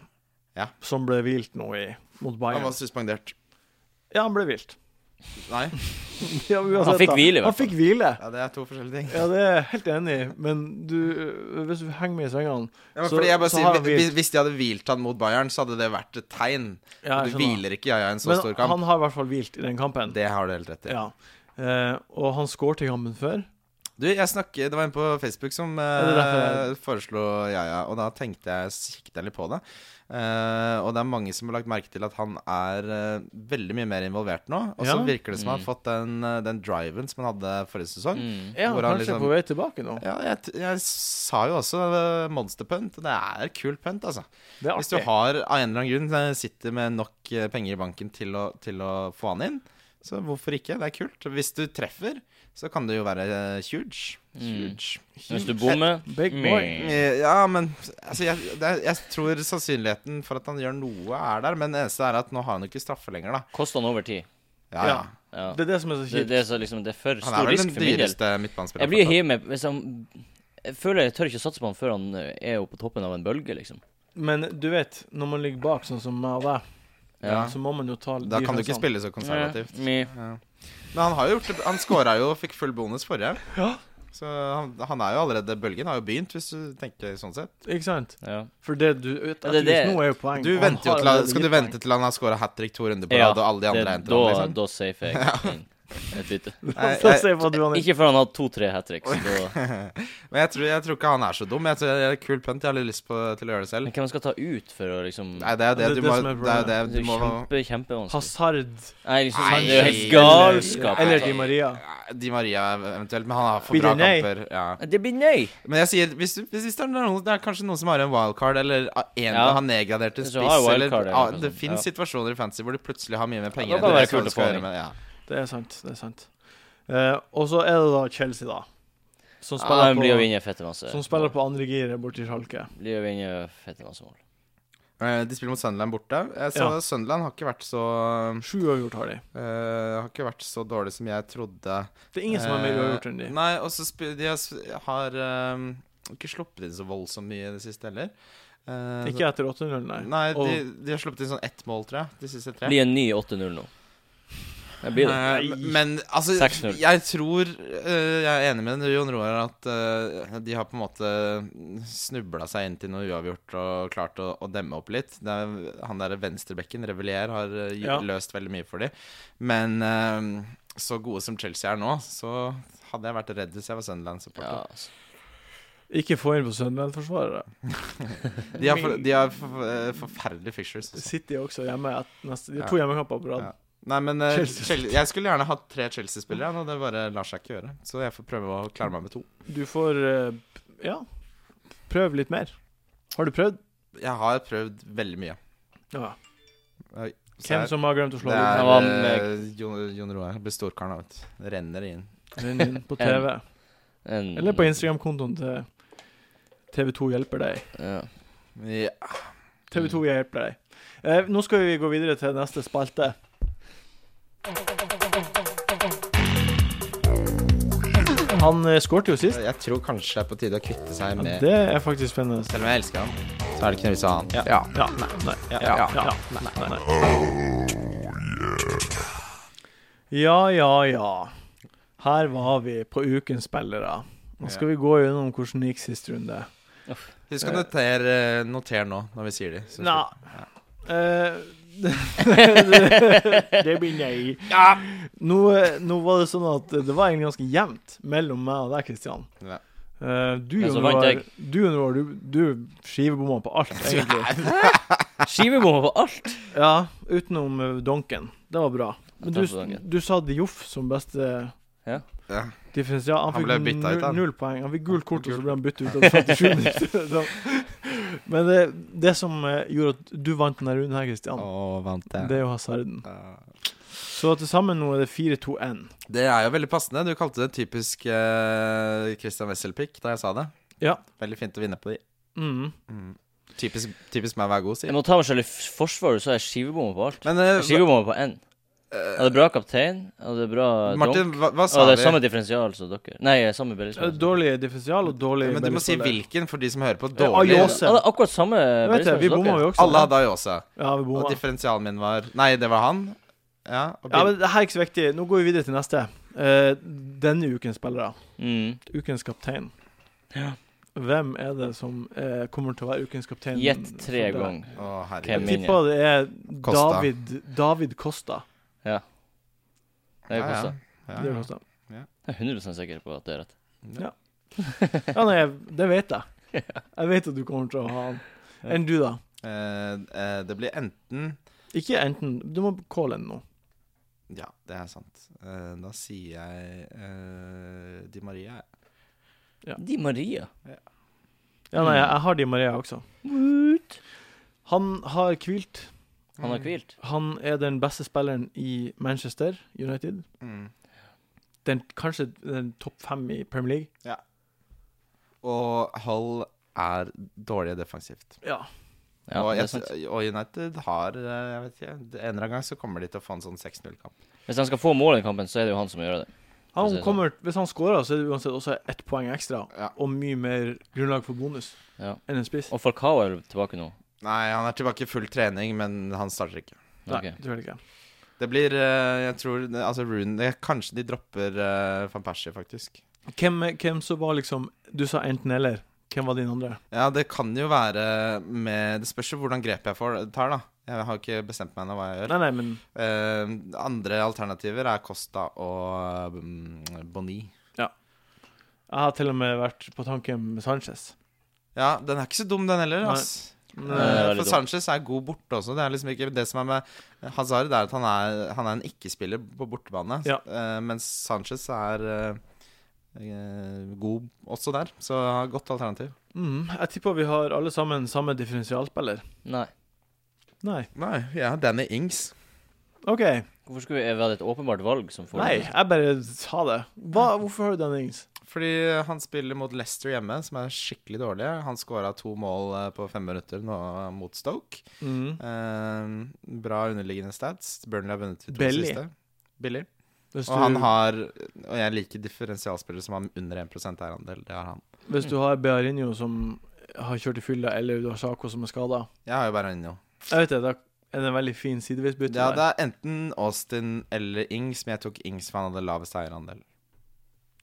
Speaker 2: Ja.
Speaker 1: som ble hvilt nå i, mot
Speaker 2: Han
Speaker 1: Bayern.
Speaker 2: var suspendert.
Speaker 1: Ja, han ble hvilt.
Speaker 2: Nei,
Speaker 1: Ja, uansett,
Speaker 3: Han fikk
Speaker 1: da.
Speaker 3: hvile, i hvert
Speaker 1: Han
Speaker 3: fall.
Speaker 1: fikk hvile.
Speaker 2: ja, det er to forskjellige ting.
Speaker 1: Ja, det er jeg helt enig i, men du øh, Hvis du henger med i svingene
Speaker 2: Ja, men
Speaker 1: Så-
Speaker 2: fordi jeg bare
Speaker 1: så
Speaker 2: sier,
Speaker 1: har han hvilt.
Speaker 2: hvis- Hvis de hadde hvilt han mot Bayern, så hadde det vært et tegn.
Speaker 1: ja, jeg
Speaker 2: du
Speaker 1: skjønner.
Speaker 2: hviler ikke Jaja i en så stor
Speaker 1: Men
Speaker 2: kamp.
Speaker 1: han har i hvert fall hvilt i den kampen.
Speaker 2: Det har du helt rett i.
Speaker 1: Ja. Eh, og han skåret i kampen før.
Speaker 2: Du, jeg snakker, Det var en på Facebook som
Speaker 1: det er
Speaker 2: eh,
Speaker 1: derfor
Speaker 2: foreslo Jaja, og da tenkte jeg, så kikket jeg litt på det. Eh, og det er mange som har lagt merke til at han er eh, veldig mye mer involvert nå. Og så
Speaker 1: Ja.
Speaker 2: virker det som han har
Speaker 3: Mm.
Speaker 2: fått den, eh, den driven som han hadde forrige sesong.
Speaker 3: Mm.
Speaker 1: Er han
Speaker 2: Hvor han
Speaker 1: kanskje
Speaker 2: liksom-
Speaker 1: på vei tilbake nå?
Speaker 2: Ja, jeg, t- jeg sa jo også eh, monster punt. og Det er kul punt, altså.
Speaker 1: Det er
Speaker 2: Hvis du
Speaker 1: artig.
Speaker 2: har av en eller annen grunn eh, sitter med nok eh, penger i banken til å, til å få han inn, så hvorfor ikke? Det er kult. Hvis du treffer, så kan det jo være eh, huge.
Speaker 3: Mm.
Speaker 2: Huge.
Speaker 3: Hvis du bommer
Speaker 1: Big boy.
Speaker 3: mm.
Speaker 2: Eh, Ja, men altså, jeg, det er, jeg tror sannsynligheten for at han gjør noe, er der. Men det eneste er at nå har han jo ikke straffe lenger, da.
Speaker 3: Koster han over tid.
Speaker 2: Ja, ja.
Speaker 1: Ja.
Speaker 3: Ja.
Speaker 1: Det er det som er så
Speaker 3: Det,
Speaker 1: kjipt.
Speaker 3: det, er så liksom, det er for
Speaker 2: Han er
Speaker 3: stor
Speaker 2: vel den
Speaker 3: risk for min del.
Speaker 2: dyreste
Speaker 3: Jeg blir
Speaker 2: midtbanespilleren.
Speaker 3: hiv med hvis han Jeg føler jeg tør ikke satse på han før han eh, er jo på toppen av en bølge, liksom.
Speaker 1: Men du vet, når man ligger bak, sånn som meg og deg,
Speaker 2: Ja.
Speaker 1: så må man jo ta
Speaker 2: Da kan du ikke
Speaker 1: defensene.
Speaker 2: spille så konservativt.
Speaker 3: Ja, mi-
Speaker 2: Ja. Men han har jo gjort det Han scora jo og fikk full bonus forrige.
Speaker 1: Ja.
Speaker 2: Så han, han er jo allerede Bølgen har jo begynt, hvis du tenker sånn sett.
Speaker 1: Ikke sant?
Speaker 3: ja.
Speaker 1: For det du vet,
Speaker 3: Ja, det er det.
Speaker 1: nå er jo poeng.
Speaker 2: Du
Speaker 1: og han
Speaker 2: venter jo
Speaker 1: har
Speaker 2: til han,
Speaker 1: allerede
Speaker 2: Skal du
Speaker 1: gitt
Speaker 2: vente til han har scora hat trick to runder på
Speaker 3: Ja,
Speaker 2: rad, og alle de
Speaker 3: Det,
Speaker 2: andre er etter
Speaker 3: da,
Speaker 2: ham? Liksom?
Speaker 3: da safer jeg inn et bytte.
Speaker 1: poeng.
Speaker 2: Nei,
Speaker 1: Så
Speaker 2: jeg-
Speaker 1: se på at du han er
Speaker 3: Ikke før han har to-tre hat tricks. da-
Speaker 2: Men jeg tror, jeg tror ikke han er så dum. Jeg tror det er Kul punt. Jeg har litt lyst på, til å gjøre det selv.
Speaker 3: Men hvem skal ta ut for å liksom
Speaker 2: Nei, det er det,
Speaker 1: Det er
Speaker 2: du
Speaker 1: det
Speaker 2: må
Speaker 1: som er
Speaker 2: Det er det
Speaker 3: Det
Speaker 2: du
Speaker 3: er jo
Speaker 2: må
Speaker 3: kjempe, kjempevanskelig.
Speaker 1: Hazard
Speaker 3: Nei, liksom, sånn,
Speaker 2: Nei,
Speaker 3: det er jo helt
Speaker 2: eller-
Speaker 3: galskap. altså.
Speaker 1: Eller Di Maria.
Speaker 2: Di Maria eventuelt, men han har for
Speaker 1: Blir
Speaker 2: bra
Speaker 1: det nei?
Speaker 2: kamper. Ja.
Speaker 3: Det blir nei!
Speaker 2: Men jeg sier, hvis, du- hvis det, er noen, det er kanskje noen som har en wildcard, eller en
Speaker 3: Ja.
Speaker 2: ja. har nedgradert til
Speaker 3: Hvis
Speaker 2: spiss,
Speaker 3: du har
Speaker 2: eller,
Speaker 3: wildcard, eller
Speaker 2: ja,
Speaker 3: noe
Speaker 2: Det
Speaker 3: sånt,
Speaker 2: finnes situasjoner i fantasy hvor du plutselig har mye mer penger.
Speaker 3: da
Speaker 2: enn du vet
Speaker 3: kan det være
Speaker 2: hva
Speaker 3: kult
Speaker 2: du
Speaker 3: å
Speaker 2: skal
Speaker 3: få
Speaker 2: gjøre
Speaker 3: inn.
Speaker 2: med- ja.
Speaker 1: Det er sant. det er sant Eh, Og så er det da Chelsea, da. Som
Speaker 3: Ja,
Speaker 1: spiller
Speaker 3: han blir å
Speaker 1: på,
Speaker 3: vinne fette masse.
Speaker 1: som spiller på andregiret borti Schalke.
Speaker 3: Blir å vinne fette masse mål.
Speaker 2: Eh, De spiller mot Sunderland borte. Jeg så
Speaker 1: Ja.
Speaker 2: Sunderland har ikke vært så
Speaker 1: Sju uavgjort har de.
Speaker 2: eh, Har ikke vært så dårlig som jeg trodde.
Speaker 1: Det er ingen som har mer
Speaker 2: Eh,
Speaker 1: uavgjort enn de.
Speaker 2: Nei, og så sp- de har, s- har eh, ikke sluppet inn så voldsomt mye i det siste heller. Eh,
Speaker 1: Ikke etter 8-0, nei.
Speaker 2: så- Nei,
Speaker 1: Og-
Speaker 2: de, de har sluppet inn sånn ett mål, tror jeg. De siste tre.
Speaker 3: Blir en ny 8-0 nå. Det blir det.
Speaker 2: Eh,
Speaker 1: Nei.
Speaker 2: men altså,
Speaker 3: 6-0.
Speaker 2: jeg tror eh, Jeg er enig med Jon Roar at eh, de har på en måte snubla seg inn til noe uavgjort og klart å, å demme opp litt. Det er, han derre venstrebekken, Revelier, har eh, gj-
Speaker 1: Ja.
Speaker 2: løst veldig mye for dem. Men eh, så gode som Chelsea er nå, så hadde jeg vært redd hvis jeg var
Speaker 3: Ja,
Speaker 2: Sunderland-supporter.
Speaker 3: altså.
Speaker 1: Ikke få inn på Sunderland-forsvarere.
Speaker 2: De har, for, de har for, eh, forferdelige fixtures. også.
Speaker 1: City er også hjemme et neste De har to hjemmekamper på rad.
Speaker 2: Ja. Nei, men eh,
Speaker 1: Chelsea.
Speaker 2: Chel- jeg skulle gjerne hatt tre Chelsea-spillere, og det bare lar seg ikke gjøre. Så jeg får prøve å klare meg med to.
Speaker 1: Du får eh, Ja, prøv litt mer. Har du prøvd?
Speaker 2: Jeg har prøvd veldig mye.
Speaker 1: Ja.
Speaker 2: Oi, se
Speaker 1: Hvem
Speaker 2: her.
Speaker 1: som har glemt å slå
Speaker 2: Det
Speaker 1: litt?
Speaker 2: er
Speaker 3: Han var
Speaker 2: eh, Jon, Jon Roar. Blir storkaren av, vet du. Det Renner inn.
Speaker 1: Den inn på TV.
Speaker 3: En-
Speaker 1: Eller på Instagram-kontoen til TV2 hjelper deg.
Speaker 3: Ja.
Speaker 2: Ja. Mm.
Speaker 1: TV2 hjelper deg. Eh, nå skal vi gå videre til neste spalte. Han eh, skårte jo sist.
Speaker 2: Jeg tror kanskje det er på tide å kvitte seg
Speaker 1: Ja,
Speaker 2: med
Speaker 1: det er faktisk spennende.
Speaker 2: Selv om jeg elsker han, så er det ikke noe vits i å ha han.
Speaker 1: Ja, nei, nei,
Speaker 2: Ja,
Speaker 1: ja,
Speaker 2: ja,
Speaker 1: ja, nei, nei. Ja, ja, ja. Her var vi på ukens spillere. Nå skal vi gå gjennom hvordan det gikk sist runde.
Speaker 2: Husk å notere noter nå når vi sier de. Så-
Speaker 1: Nei. Eh, det blir nei. Nå, eh, nå var det sånn at det var egentlig ganske jevnt mellom meg og deg, Kristian.
Speaker 2: Ja.
Speaker 1: Eh, du,
Speaker 3: Men så
Speaker 1: Jon
Speaker 3: vant
Speaker 1: Roar,
Speaker 3: jeg.
Speaker 1: du, Jon Roar, du, du skivebomma på alt, egentlig.
Speaker 3: Skivebommer på alt!
Speaker 1: Ja, utenom eh, donken. Det var bra. Men
Speaker 3: Utenfor
Speaker 1: du,
Speaker 3: donken.
Speaker 1: du sa Dioff som beste
Speaker 3: Ja.
Speaker 2: Ja.
Speaker 1: differensial. Han,
Speaker 2: Han
Speaker 1: fikk
Speaker 2: ble bytta ut,
Speaker 1: nu-
Speaker 2: han.
Speaker 1: null poeng. Han fikk gult kort, og
Speaker 2: Gult.
Speaker 1: så ble han byttet ut etter 57 minutter. Så- Men det, det som eh, gjorde at du vant denne runden her, Kristian,
Speaker 2: Å, vant
Speaker 1: det er jo hasarden.
Speaker 2: Ja.
Speaker 1: Så til sammen nå er det 4-2-1.
Speaker 2: Det er jo veldig passende. Du kalte det typisk eh, Christian Wesselpick da jeg sa det.
Speaker 1: Ja.
Speaker 2: Veldig fint å vinne på de.
Speaker 1: Mm.
Speaker 2: Typisk, typisk meg å være god, sier
Speaker 3: Jeg
Speaker 2: jeg.
Speaker 3: må ta meg selv i f- forsvaret, så er jeg skivebommer på alt.
Speaker 2: Men eh,
Speaker 3: Jeg er Skivebommer på én. Jeg hadde bra kaptein, jeg hadde bra
Speaker 2: hva-
Speaker 3: donk.
Speaker 2: eh, Martin, hva, hva sa
Speaker 3: Og det er
Speaker 2: vi?
Speaker 3: samme differensial som dere. Nei, samme
Speaker 1: Eh,
Speaker 3: bellespiller.
Speaker 1: Dårlig differensial og dårlig
Speaker 2: Men du må si
Speaker 1: bellyspiller.
Speaker 2: hvilken for de som hører på.
Speaker 1: Eh,
Speaker 2: Dårlig.
Speaker 1: Ayos.
Speaker 3: Jeg hadde akkurat samme
Speaker 1: Jeg vet det,
Speaker 3: bellespiller
Speaker 1: vi
Speaker 3: som
Speaker 1: bomma
Speaker 3: dere.
Speaker 1: jo også.
Speaker 2: Alle hadde Ayosa.
Speaker 1: Sånn, Ja, vi
Speaker 2: Og
Speaker 1: bomma.
Speaker 2: differensialen min var Nei, det var han. Ja,
Speaker 1: Ja,
Speaker 2: og Bill.
Speaker 1: men det her er ikke så viktig. Nå går vi videre til neste. Eh, denne ukens spillere.
Speaker 3: Mm.
Speaker 1: Ukens kaptein.
Speaker 3: Ja.
Speaker 1: Hvem er det som eh, kommer til å være ukens kaptein?
Speaker 3: Gjett
Speaker 1: for
Speaker 3: tre
Speaker 1: deg?
Speaker 3: ganger.
Speaker 2: Å,
Speaker 1: Jeg
Speaker 3: Hvem
Speaker 2: herregud.
Speaker 3: er-
Speaker 1: tipper det er
Speaker 2: Costa.
Speaker 1: David David Costa.
Speaker 3: Det er
Speaker 2: Ja, ja.
Speaker 3: Kosta.
Speaker 2: Ja,
Speaker 1: David
Speaker 2: ja.
Speaker 1: Costa.
Speaker 3: Jeg er 100 sikker på at det er rett.
Speaker 1: Ja, nei, jeg- det vet jeg. Jeg vet at du kommer til å ha han. Enn du, da?
Speaker 2: Eh, eh, det blir enten
Speaker 1: Ikke enten. Du må calle en nå.
Speaker 2: Ja, det er sant. Eh, da sier jeg eh, Di Maria.
Speaker 3: Di Maria.
Speaker 1: Ja, nei, jeg,
Speaker 3: Mm.
Speaker 1: jeg har Di Maria også. Han har hvilt.
Speaker 3: Han har hvilt.
Speaker 1: Han er den beste spilleren i Manchester United.
Speaker 2: Mm.
Speaker 1: Den, kanskje den topp fem i Premier League.
Speaker 2: Og Hull er dårlig defensivt.
Speaker 1: Ja.
Speaker 3: Ja,
Speaker 2: og,
Speaker 3: det
Speaker 2: jeg,
Speaker 3: er sant.
Speaker 2: og United har eh, Jeg vet ikke. En eller annen gang så kommer de til å få en sånn 6-0-kamp.
Speaker 3: Hvis han skal få mål i den kampen, så er det jo han som må gjøre det.
Speaker 1: Han
Speaker 3: Det er
Speaker 1: kommer, hvis han scorer, så er det uansett også ett poeng ekstra.
Speaker 2: Ja.
Speaker 1: Og mye mer grunnlag for bonus
Speaker 3: Ja.
Speaker 1: enn en spiss.
Speaker 3: Og Falcao er tilbake nå.
Speaker 2: Nei, han er tilbake i full trening, men han starter ikke.
Speaker 1: Nei,
Speaker 3: Ok.
Speaker 1: det tror jeg ikke.
Speaker 2: Det blir eh, Jeg tror Altså, Rune det, Kanskje de dropper eh, van Persie, faktisk.
Speaker 1: Hvem, hvem som var liksom Du sa enten eller. Hvem var din andre?
Speaker 2: Ja, det kan jo være med Det spørs jo hvordan grep jeg får, tar, da. Jeg har ikke bestemt meg ennå hva jeg gjør.
Speaker 1: Nei, nei, men
Speaker 2: Eh, andre alternativer er Costa og mm, Boni.
Speaker 1: jeg har til og med vært på tanken med Sanchez.
Speaker 2: Ja, den er ikke så dum, den heller.
Speaker 1: Nei.
Speaker 2: ass
Speaker 1: Men,
Speaker 2: Eh,
Speaker 3: Nei, det er
Speaker 2: for
Speaker 3: litt
Speaker 2: Sanchez er god borte også. Det er liksom ikke det som er med Hazard, er at han er, han er en ikke-spiller på bortebane.
Speaker 1: Ja.
Speaker 2: Eh, mens Sanchez er eh, eh, god også der, så godt alternativ.
Speaker 1: Mm, jeg tipper vi har alle sammen samme differensialspiller.
Speaker 3: Nei.
Speaker 1: Nei.
Speaker 2: Nei, jeg ja, Danny Ings.
Speaker 1: OK.
Speaker 3: Hvorfor skulle vi være et åpenbart valg som får
Speaker 1: Nei, jeg bare sa det. Hva, hvorfor har du den Ings?
Speaker 2: Fordi han spiller mot Leicester hjemme, som er skikkelig dårlig. Han skåra to mål eh, på fem minutter nå mot Stoke. Eh, bra underliggende stats. Burnley har vunnet de to
Speaker 1: Belly.
Speaker 2: siste. Billig.
Speaker 1: Hvis,
Speaker 2: Og han
Speaker 1: du,
Speaker 2: har Og jeg liker differensialspillere som har under 1 eierandel. Det har han.
Speaker 1: hvis du har Bearinho som har kjørt i fylla, eller du har Sjako som er skada
Speaker 2: Jeg har jo bare Inno.
Speaker 1: Jeg vet det, da er det en veldig fin sidevisbytte.
Speaker 2: Ja, det
Speaker 1: der.
Speaker 2: er enten Austin eller Ings, men jeg tok Ings, for han hadde lavest eierandel.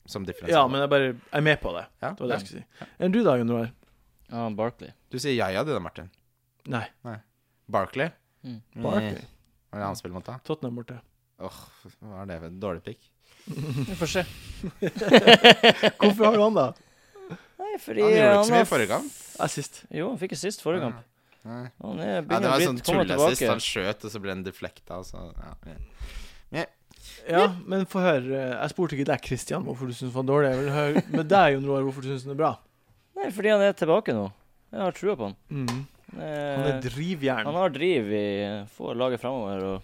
Speaker 2: Som
Speaker 1: ja,
Speaker 2: differensial.
Speaker 1: men jeg bare jeg er med på det.
Speaker 2: Ja.
Speaker 1: Det var det jeg skulle si. Enn du da, Jon Roar?
Speaker 3: Ja, Barkley.
Speaker 2: Du sier Jaja, du da, Martin.
Speaker 1: Nei.
Speaker 2: Barkley.
Speaker 3: Mm.
Speaker 1: Barkley.
Speaker 2: Hva er det han spiller mot, da?
Speaker 1: Tottenham borte.
Speaker 2: Åh, hva er det for dårlig pikk?
Speaker 3: Vi får se.
Speaker 1: Hvorfor har du han, da?
Speaker 3: Nei, fordi
Speaker 2: Han gjorde ikke så
Speaker 3: har
Speaker 2: mye i forrige kamp.
Speaker 1: Jeg er sist.
Speaker 3: Jo, han fikk en sist forrige kamp.
Speaker 2: Nei.
Speaker 3: Han er
Speaker 2: Ja, det
Speaker 3: begynner
Speaker 2: var
Speaker 3: å
Speaker 2: en sånn
Speaker 3: bli komme
Speaker 2: tulleassist.
Speaker 3: tilbake.
Speaker 2: Han skjøt, og så ble den deflekta, og så ja.
Speaker 1: Ja, men få høre. eh, Jeg spurte ikke deg, Christian, hvorfor du syns han var dårlig. Jeg vil høre med deg, Jon Roar, hvorfor du syns han er bra.
Speaker 3: Nei, fordi han er tilbake nå. Jeg har trua på han.
Speaker 1: Mm.
Speaker 3: Han,
Speaker 2: Eh,
Speaker 1: Han
Speaker 3: er,
Speaker 1: er drivjern.
Speaker 3: han har driv i Får laget fremover og,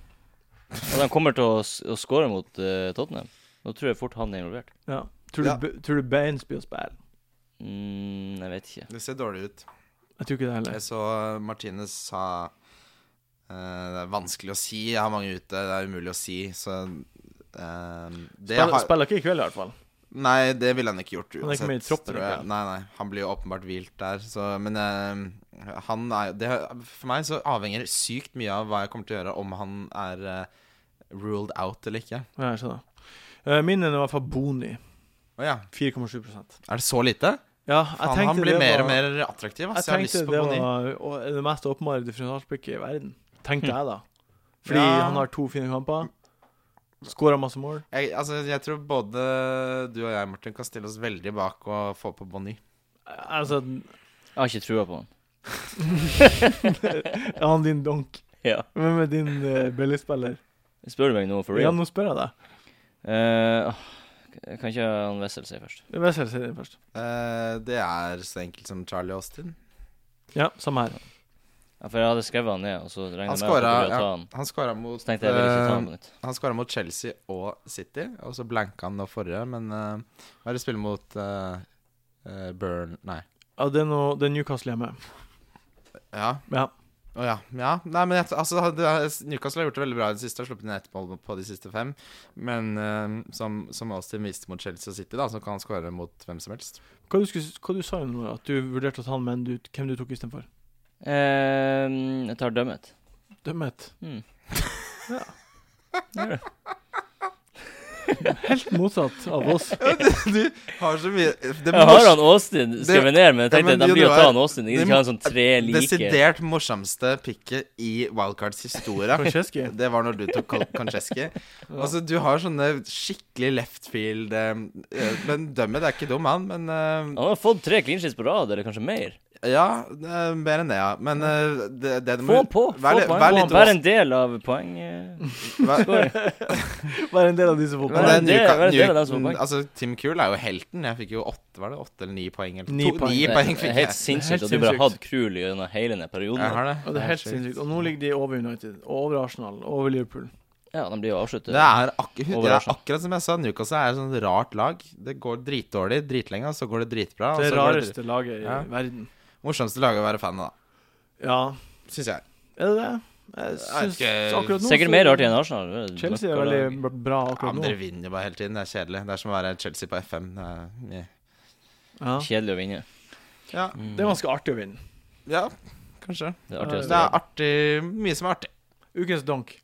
Speaker 3: og de kommer til å, s- å skåre mot eh, Tottenham. Nå tror jeg fort han er involvert.
Speaker 1: Ja. Tror du,
Speaker 2: Ja.
Speaker 1: B- tror du Baines blir å spille?
Speaker 3: Mm, jeg vet ikke.
Speaker 2: Det ser dårlig ut.
Speaker 1: Jeg tror ikke det heller.
Speaker 2: Jeg så Martinez sa eh, Det er vanskelig å si. Jeg har mange ute. Det er umulig å si, så eh, det
Speaker 1: Spiller,
Speaker 2: har,
Speaker 1: spiller ikke i kveld, i hvert fall.
Speaker 2: Nei, det ville han ikke gjort uansett.
Speaker 1: Han er ikke med i troppen,
Speaker 2: tror jeg.
Speaker 1: ikke?
Speaker 2: Nei, nei, han blir jo åpenbart hvilt der, så Men eh, han er det, For meg så avhenger det sykt mye av hva jeg kommer til å gjøre, om han er eh, ruled out eller ikke.
Speaker 1: Ja, jeg skjønner. Eh, Min er i hvert fall Boni.
Speaker 2: Å ja.
Speaker 1: 4,7
Speaker 2: Er det så lite?
Speaker 1: Ja, jeg
Speaker 2: Faen, han
Speaker 1: tenkte
Speaker 2: blir
Speaker 1: det
Speaker 2: mer og
Speaker 1: var-
Speaker 2: mer attraktiv.
Speaker 1: Jeg
Speaker 2: Ass. Jeg, har lyst
Speaker 1: tenkte
Speaker 2: på
Speaker 1: det
Speaker 2: Bonny.
Speaker 1: var og det mest åpenbare differensialspikket i verden. Tenkte jeg, da. Fordi
Speaker 2: Ja.
Speaker 1: han har to fine kamper. Skåra masse mål.
Speaker 2: Jeg, altså, jeg tror både du og jeg, Martin, kan stille oss veldig bak og få på Bonny.
Speaker 1: Altså,
Speaker 3: Jeg har ikke trua på han.
Speaker 1: han din donk.
Speaker 3: Ja.
Speaker 1: Hvem er din uh, billigspiller?
Speaker 3: Spør du meg nå for
Speaker 1: Ja,
Speaker 3: real?
Speaker 1: nå spør jeg deg.
Speaker 3: Eh, åh, kan ikke han Wessel si først?
Speaker 1: Det er best jeg sier det først.
Speaker 2: Eh, det er så enkelt som Charlie Austin.
Speaker 1: Ja, samme her.
Speaker 3: Ja, for jeg hadde skrevet han ned, og så regnet
Speaker 2: Han
Speaker 3: jeg med at
Speaker 2: skåra
Speaker 3: jeg ville
Speaker 2: ja,
Speaker 3: ta han.
Speaker 2: han skåra mot,
Speaker 3: Så tenkte jeg jeg ville ikke ta han
Speaker 2: eh,
Speaker 3: på nytt.
Speaker 2: han skåra mot Chelsea og City, og så blanka han nå forrige, men eh, hva er det spiller mot eh, eh, Burn Nei.
Speaker 1: Ja, det er, noe, det er Newcastle hjemme.
Speaker 2: Ja.
Speaker 1: Ja.
Speaker 2: Å ja. ja. Nei, men jeg, altså, det, er- Newcastle har gjort det veldig bra i det siste. Har sluppet inn ett mål på de siste fem. Men eh, som, som Austin viste mot Chelsea og City, da, så kan han skåre mot hvem som helst.
Speaker 1: Hva, du skulle, hva du sa du nå? At du vurderte å ta han, men du, hvem du tok istedenfor?
Speaker 3: Eh, jeg tar dømmet.
Speaker 1: Dømmet.
Speaker 3: Hmm.
Speaker 1: Helt motsatt av oss.
Speaker 2: Du har så mye det
Speaker 3: Jeg har han Austin skrevet ned, men jeg
Speaker 2: Ja,
Speaker 3: tenkte
Speaker 2: men
Speaker 3: at da
Speaker 2: jo,
Speaker 3: blir
Speaker 2: det
Speaker 3: å ta
Speaker 2: var-
Speaker 3: han Austin. Jeg
Speaker 2: det
Speaker 3: gidder ikke ha en sånn tre like.
Speaker 2: Desidert morsomste picket i Wildcards historie.
Speaker 1: Franceschi.
Speaker 2: Det var når du tok Kon- Konchesky. Altså, du har sånne skikkelig left field eh, eh, Men Dømmet er ikke dum, han. Men eh,
Speaker 3: Han har fått tre clean sheets på rad, eller kanskje mer.
Speaker 2: ja, eh, mer enn det, ja. Men eh, det, det du
Speaker 3: Få
Speaker 2: må
Speaker 3: han på! Få
Speaker 2: Vær litt-
Speaker 3: poeng
Speaker 2: vær
Speaker 3: på
Speaker 2: litt
Speaker 3: han. Vær en del av poeng... eh,
Speaker 2: vær-
Speaker 3: scoring.
Speaker 1: Være en del av de som får poeng.
Speaker 2: men det,
Speaker 3: Vær en del-
Speaker 2: Newca-
Speaker 3: vær en del av dem
Speaker 2: Newca-
Speaker 3: som får poeng.
Speaker 2: altså, Tim Kuhl er jo helten. Jeg fikk jo åtte var det åtte eller ni poeng. Eller
Speaker 1: Ni
Speaker 2: to,
Speaker 1: poeng.
Speaker 2: Ni
Speaker 3: Det
Speaker 2: poeng
Speaker 3: er
Speaker 2: fikk
Speaker 3: helt
Speaker 2: jeg.
Speaker 1: Helt
Speaker 3: sinnssykt at du bare
Speaker 1: sinnssykt.
Speaker 3: har hatt Krul gjennom hele denne perioden.
Speaker 2: Jeg har det.
Speaker 1: Ja, det er helt sinnssykt. Og nå ligger de over United, og over Arsenal, og over Liverpool.
Speaker 3: Ja, de blir jo avsluttet.
Speaker 2: Det er, akk- det er
Speaker 3: Overraskende.
Speaker 2: akkurat som jeg sa, Newcastle er et sånt rart lag. Det går dritdårlig dritlenge, og så går det dritbra. Og
Speaker 1: Det
Speaker 2: så går
Speaker 1: altså, rareste laget i
Speaker 2: Ja.
Speaker 1: verden.
Speaker 2: det morsomste laget å være fan av,
Speaker 1: Ja,
Speaker 2: da, syns jeg.
Speaker 1: er det det? Jeg
Speaker 2: Jeg vet
Speaker 1: syns
Speaker 2: ikke.
Speaker 1: akkurat nå
Speaker 3: Sikkert
Speaker 1: så-
Speaker 3: mer artig enn Arsenal. det er
Speaker 1: Chelsea er
Speaker 3: nok-
Speaker 1: veldig b- bra
Speaker 2: Ja,
Speaker 1: akkurat
Speaker 2: men dere
Speaker 1: nå.
Speaker 2: vinner bare hele tiden. Det er kjedelig. Det er som å være Chelsea på FM. Det er, mye.
Speaker 1: Ja.
Speaker 3: Kjedelig å vinne.
Speaker 2: ja.
Speaker 3: Mm.
Speaker 1: Det er ganske artig å vinne.
Speaker 2: ja, kanskje.
Speaker 3: Det er
Speaker 1: Ja,
Speaker 2: Det
Speaker 3: artigste.
Speaker 2: er artig. Mye som er artig.
Speaker 1: Ukens donk.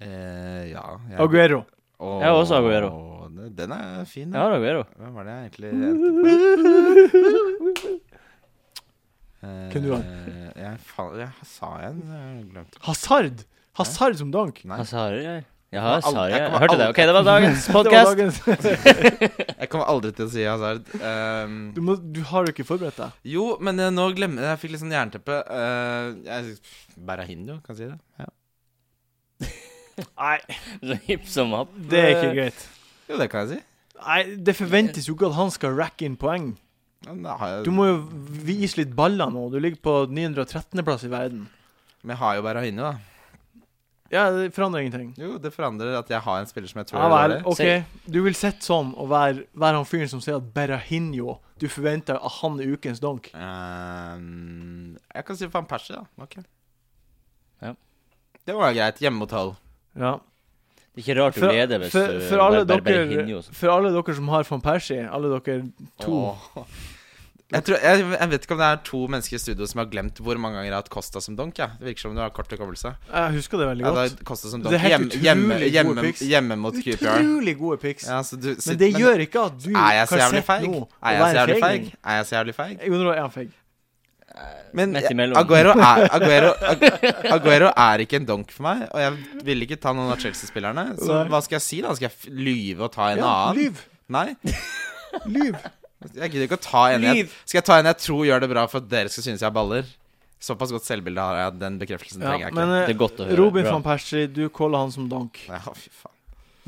Speaker 2: Eh, ja. jeg-
Speaker 1: Aguero.
Speaker 2: Åh,
Speaker 3: Jeg har også Aguero.
Speaker 2: det- Den er fin.
Speaker 3: Ja,
Speaker 2: da.
Speaker 3: Aguero.
Speaker 2: Hvem var det jeg egentlig endte på? Eh,
Speaker 1: Hvem du
Speaker 2: Jeg, faen, jeg sa en, jeg glemte
Speaker 1: Hazard! Hazard som donk.
Speaker 2: Nei.
Speaker 3: Hazari, jeg. Ja,
Speaker 2: Jeg kommer aldri- jeg kommer
Speaker 3: Hazari. Jeg hørte det.
Speaker 2: aldri-
Speaker 3: OK, det var dagens
Speaker 1: Det var
Speaker 3: podkast.
Speaker 1: dagens-
Speaker 2: Jeg kommer aldri til å si Hazard. Ehm,
Speaker 1: Du, må, du har jo ikke forberedt deg.
Speaker 2: jo, men jeg, nå glemmer jeg Jeg fikk litt sånn jernteppe. Uh, jeg, Berahino, kan jeg si det? Ja.
Speaker 1: Nei,
Speaker 3: Så hipp som happ.
Speaker 1: det er ikke greit.
Speaker 2: Jo, det kan jeg si.
Speaker 1: Nei, Det forventes jo ikke at han skal racke inn poeng.
Speaker 2: Men, da har jeg,
Speaker 1: Du må jo vise litt baller nå. Du ligger på 913.-plass i verden.
Speaker 2: men jeg har jo Berahino, da.
Speaker 1: Ja, det forandrer ingenting.
Speaker 2: Jo, det forandrer at jeg har en spiller som jeg tror
Speaker 1: Ja
Speaker 2: er
Speaker 1: Ah, vel,
Speaker 2: dårlig.
Speaker 1: ok. Du vil sitte sånn og være, være han fyren som sier at Berrahinho Du forventer at han er ukens donk.
Speaker 2: Ehm, jeg kan si Van Persie, da. Ok.
Speaker 3: Ja.
Speaker 2: Det var greit. Hjemme mot halv.
Speaker 1: Ja.
Speaker 3: Det er ikke rart du
Speaker 1: For,
Speaker 3: leder hvis
Speaker 1: for,
Speaker 3: du
Speaker 1: for, alle
Speaker 3: bare- bare
Speaker 1: dere,
Speaker 3: hinner jo.
Speaker 1: for alle dere som har van Persie, alle dere to
Speaker 2: Åh. Jeg, tror, jeg, jeg vet ikke om det er to mennesker i studio som har glemt hvor mange ganger jeg har hatt Costa som donk. Ja. Det virker som du har kort hukommelse.
Speaker 1: Jeg husker det veldig
Speaker 2: Ja, da
Speaker 1: godt.
Speaker 2: Costa som
Speaker 1: Det
Speaker 2: donk
Speaker 1: er helt
Speaker 2: hjemme, hjemme,
Speaker 1: utrolig gode
Speaker 2: hjemme,
Speaker 1: picks.
Speaker 2: hjemme mot QPR.
Speaker 1: Utrolig gode picks.
Speaker 2: Ja, så du, sitter-
Speaker 1: men det gjør ikke at du
Speaker 2: Er jeg så
Speaker 1: kan
Speaker 2: jævlig
Speaker 1: sitte
Speaker 2: feig?
Speaker 1: nå og
Speaker 2: Er jeg så
Speaker 1: være
Speaker 2: jævlig feig?
Speaker 1: feiging.
Speaker 2: Er jeg så jævlig feig?
Speaker 1: Jo, nå er jeg feig.
Speaker 2: Men
Speaker 3: Midt imellom.
Speaker 2: Aguero er, Aguero, Ag- Aguero er ikke en donk for meg, og jeg ville ikke ta noen av Chelsea-spillerne. Så
Speaker 1: Nei.
Speaker 2: hva skal jeg si, da? Skal jeg f- lyve og ta en
Speaker 1: Ja,
Speaker 2: annen?
Speaker 1: lyv.
Speaker 2: Nei.
Speaker 1: Lyv.
Speaker 2: Jeg gidder ikke å ta en jeg
Speaker 1: Lyv.
Speaker 2: Skal jeg ta en jeg tror gjør det bra for at dere skal synes jeg har baller? Såpass godt selvbilde har jeg. Den bekreftelsen
Speaker 1: Ja,
Speaker 2: trenger jeg ikke.
Speaker 1: men
Speaker 3: Det er
Speaker 1: eh,
Speaker 3: godt å høre.
Speaker 1: Robin
Speaker 3: Bra.
Speaker 1: van Persie, du caller han som donk.
Speaker 2: Ja, fy faen.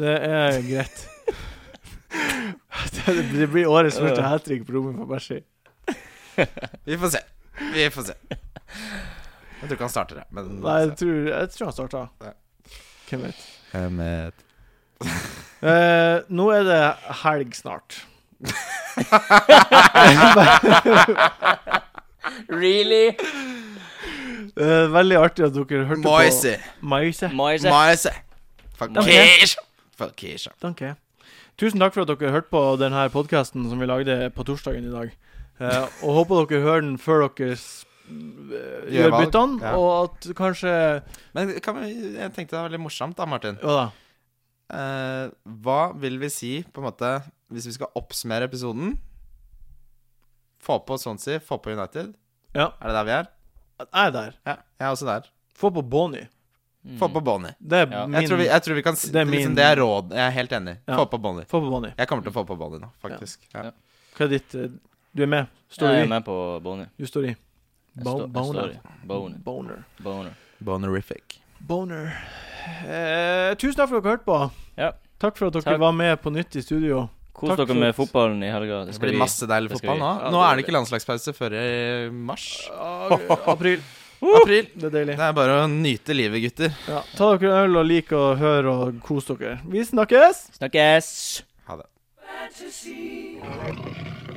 Speaker 1: Det er greit. det, det blir årets første hat trick på Robin van Persie.
Speaker 2: Vi får se. Vi får se. Jeg tror ikke han starter det, men
Speaker 1: Nei, jeg tror, jeg tror han starta.
Speaker 2: Ja.
Speaker 1: Hvem vet.
Speaker 2: Eh, med-
Speaker 1: Eh, nå er det helg snart.
Speaker 3: Really?
Speaker 1: Eh, veldig artig at dere hørte
Speaker 2: Moise.
Speaker 1: på Maise.
Speaker 3: Moise.
Speaker 2: Moise. Fuck
Speaker 1: Ok.
Speaker 2: Keisha. Fuck Keisha.
Speaker 1: Takk. jeg. Tusen takk for at dere hørte på denne podkasten som vi lagde på torsdagen i dag. Eh, og håper dere hører den før dere s- eh,
Speaker 2: Gjør
Speaker 1: gjør
Speaker 2: valg,
Speaker 1: byttene,
Speaker 2: ja.
Speaker 1: og at kanskje
Speaker 2: Men kan vi, jeg tenkte det var veldig morsomt, da, Martin.
Speaker 1: Ja da.
Speaker 2: Eh, hva vil vi si, på en måte, hvis vi skal oppsummere episoden? Få på Swansea, få på United.
Speaker 1: Ja.
Speaker 2: Er det der vi er?
Speaker 1: Jeg er der.
Speaker 2: Ja, jeg er også der.
Speaker 1: Få på Bonnie.
Speaker 3: Mm.
Speaker 2: Få på Bonnie.
Speaker 1: Det er
Speaker 3: Ja.
Speaker 1: min
Speaker 2: Jeg tror, vi, jeg tror vi kan si
Speaker 1: Det
Speaker 2: det
Speaker 1: er
Speaker 2: er, liksom,
Speaker 1: min-
Speaker 2: det er råd. Jeg er helt enig.
Speaker 1: Ja.
Speaker 2: Få på Bonnie.
Speaker 1: Få på Bonnie.
Speaker 2: Jeg kommer til å få på Bonnie nå, faktisk. Ja.
Speaker 3: Ja.
Speaker 1: Hva er ditt eh, Du er med? Står
Speaker 3: Jeg
Speaker 1: du i?
Speaker 3: er med på Bonnie.
Speaker 1: Du står i.
Speaker 3: Jeg
Speaker 1: Bo-
Speaker 3: står- jeg står i. Boney.
Speaker 1: Boner.
Speaker 3: Boner.
Speaker 2: Bonerific.
Speaker 1: Boner. Eh, tusen takk for at dere hørte på.
Speaker 3: Ja.
Speaker 1: Takk for at dere
Speaker 3: Takk.
Speaker 1: var med på nytt i studio.
Speaker 3: Kos
Speaker 1: Takk
Speaker 3: dere
Speaker 1: for-
Speaker 3: med fotballen i helga.
Speaker 2: Det blir masse deilig
Speaker 3: det skal
Speaker 2: fotball
Speaker 3: vi-
Speaker 2: nå. Nå
Speaker 3: Ja, det
Speaker 2: er det
Speaker 3: blir
Speaker 2: ikke landslagspause før i mars.
Speaker 1: April.
Speaker 2: April.
Speaker 1: Det er deilig.
Speaker 2: Det er bare å nyte livet, gutter.
Speaker 1: Ja. Ta dere en øl og lik og hør og kos dere. Vi snakkes!
Speaker 3: Snakkes!
Speaker 2: Ha det.
Speaker 4: fantasy.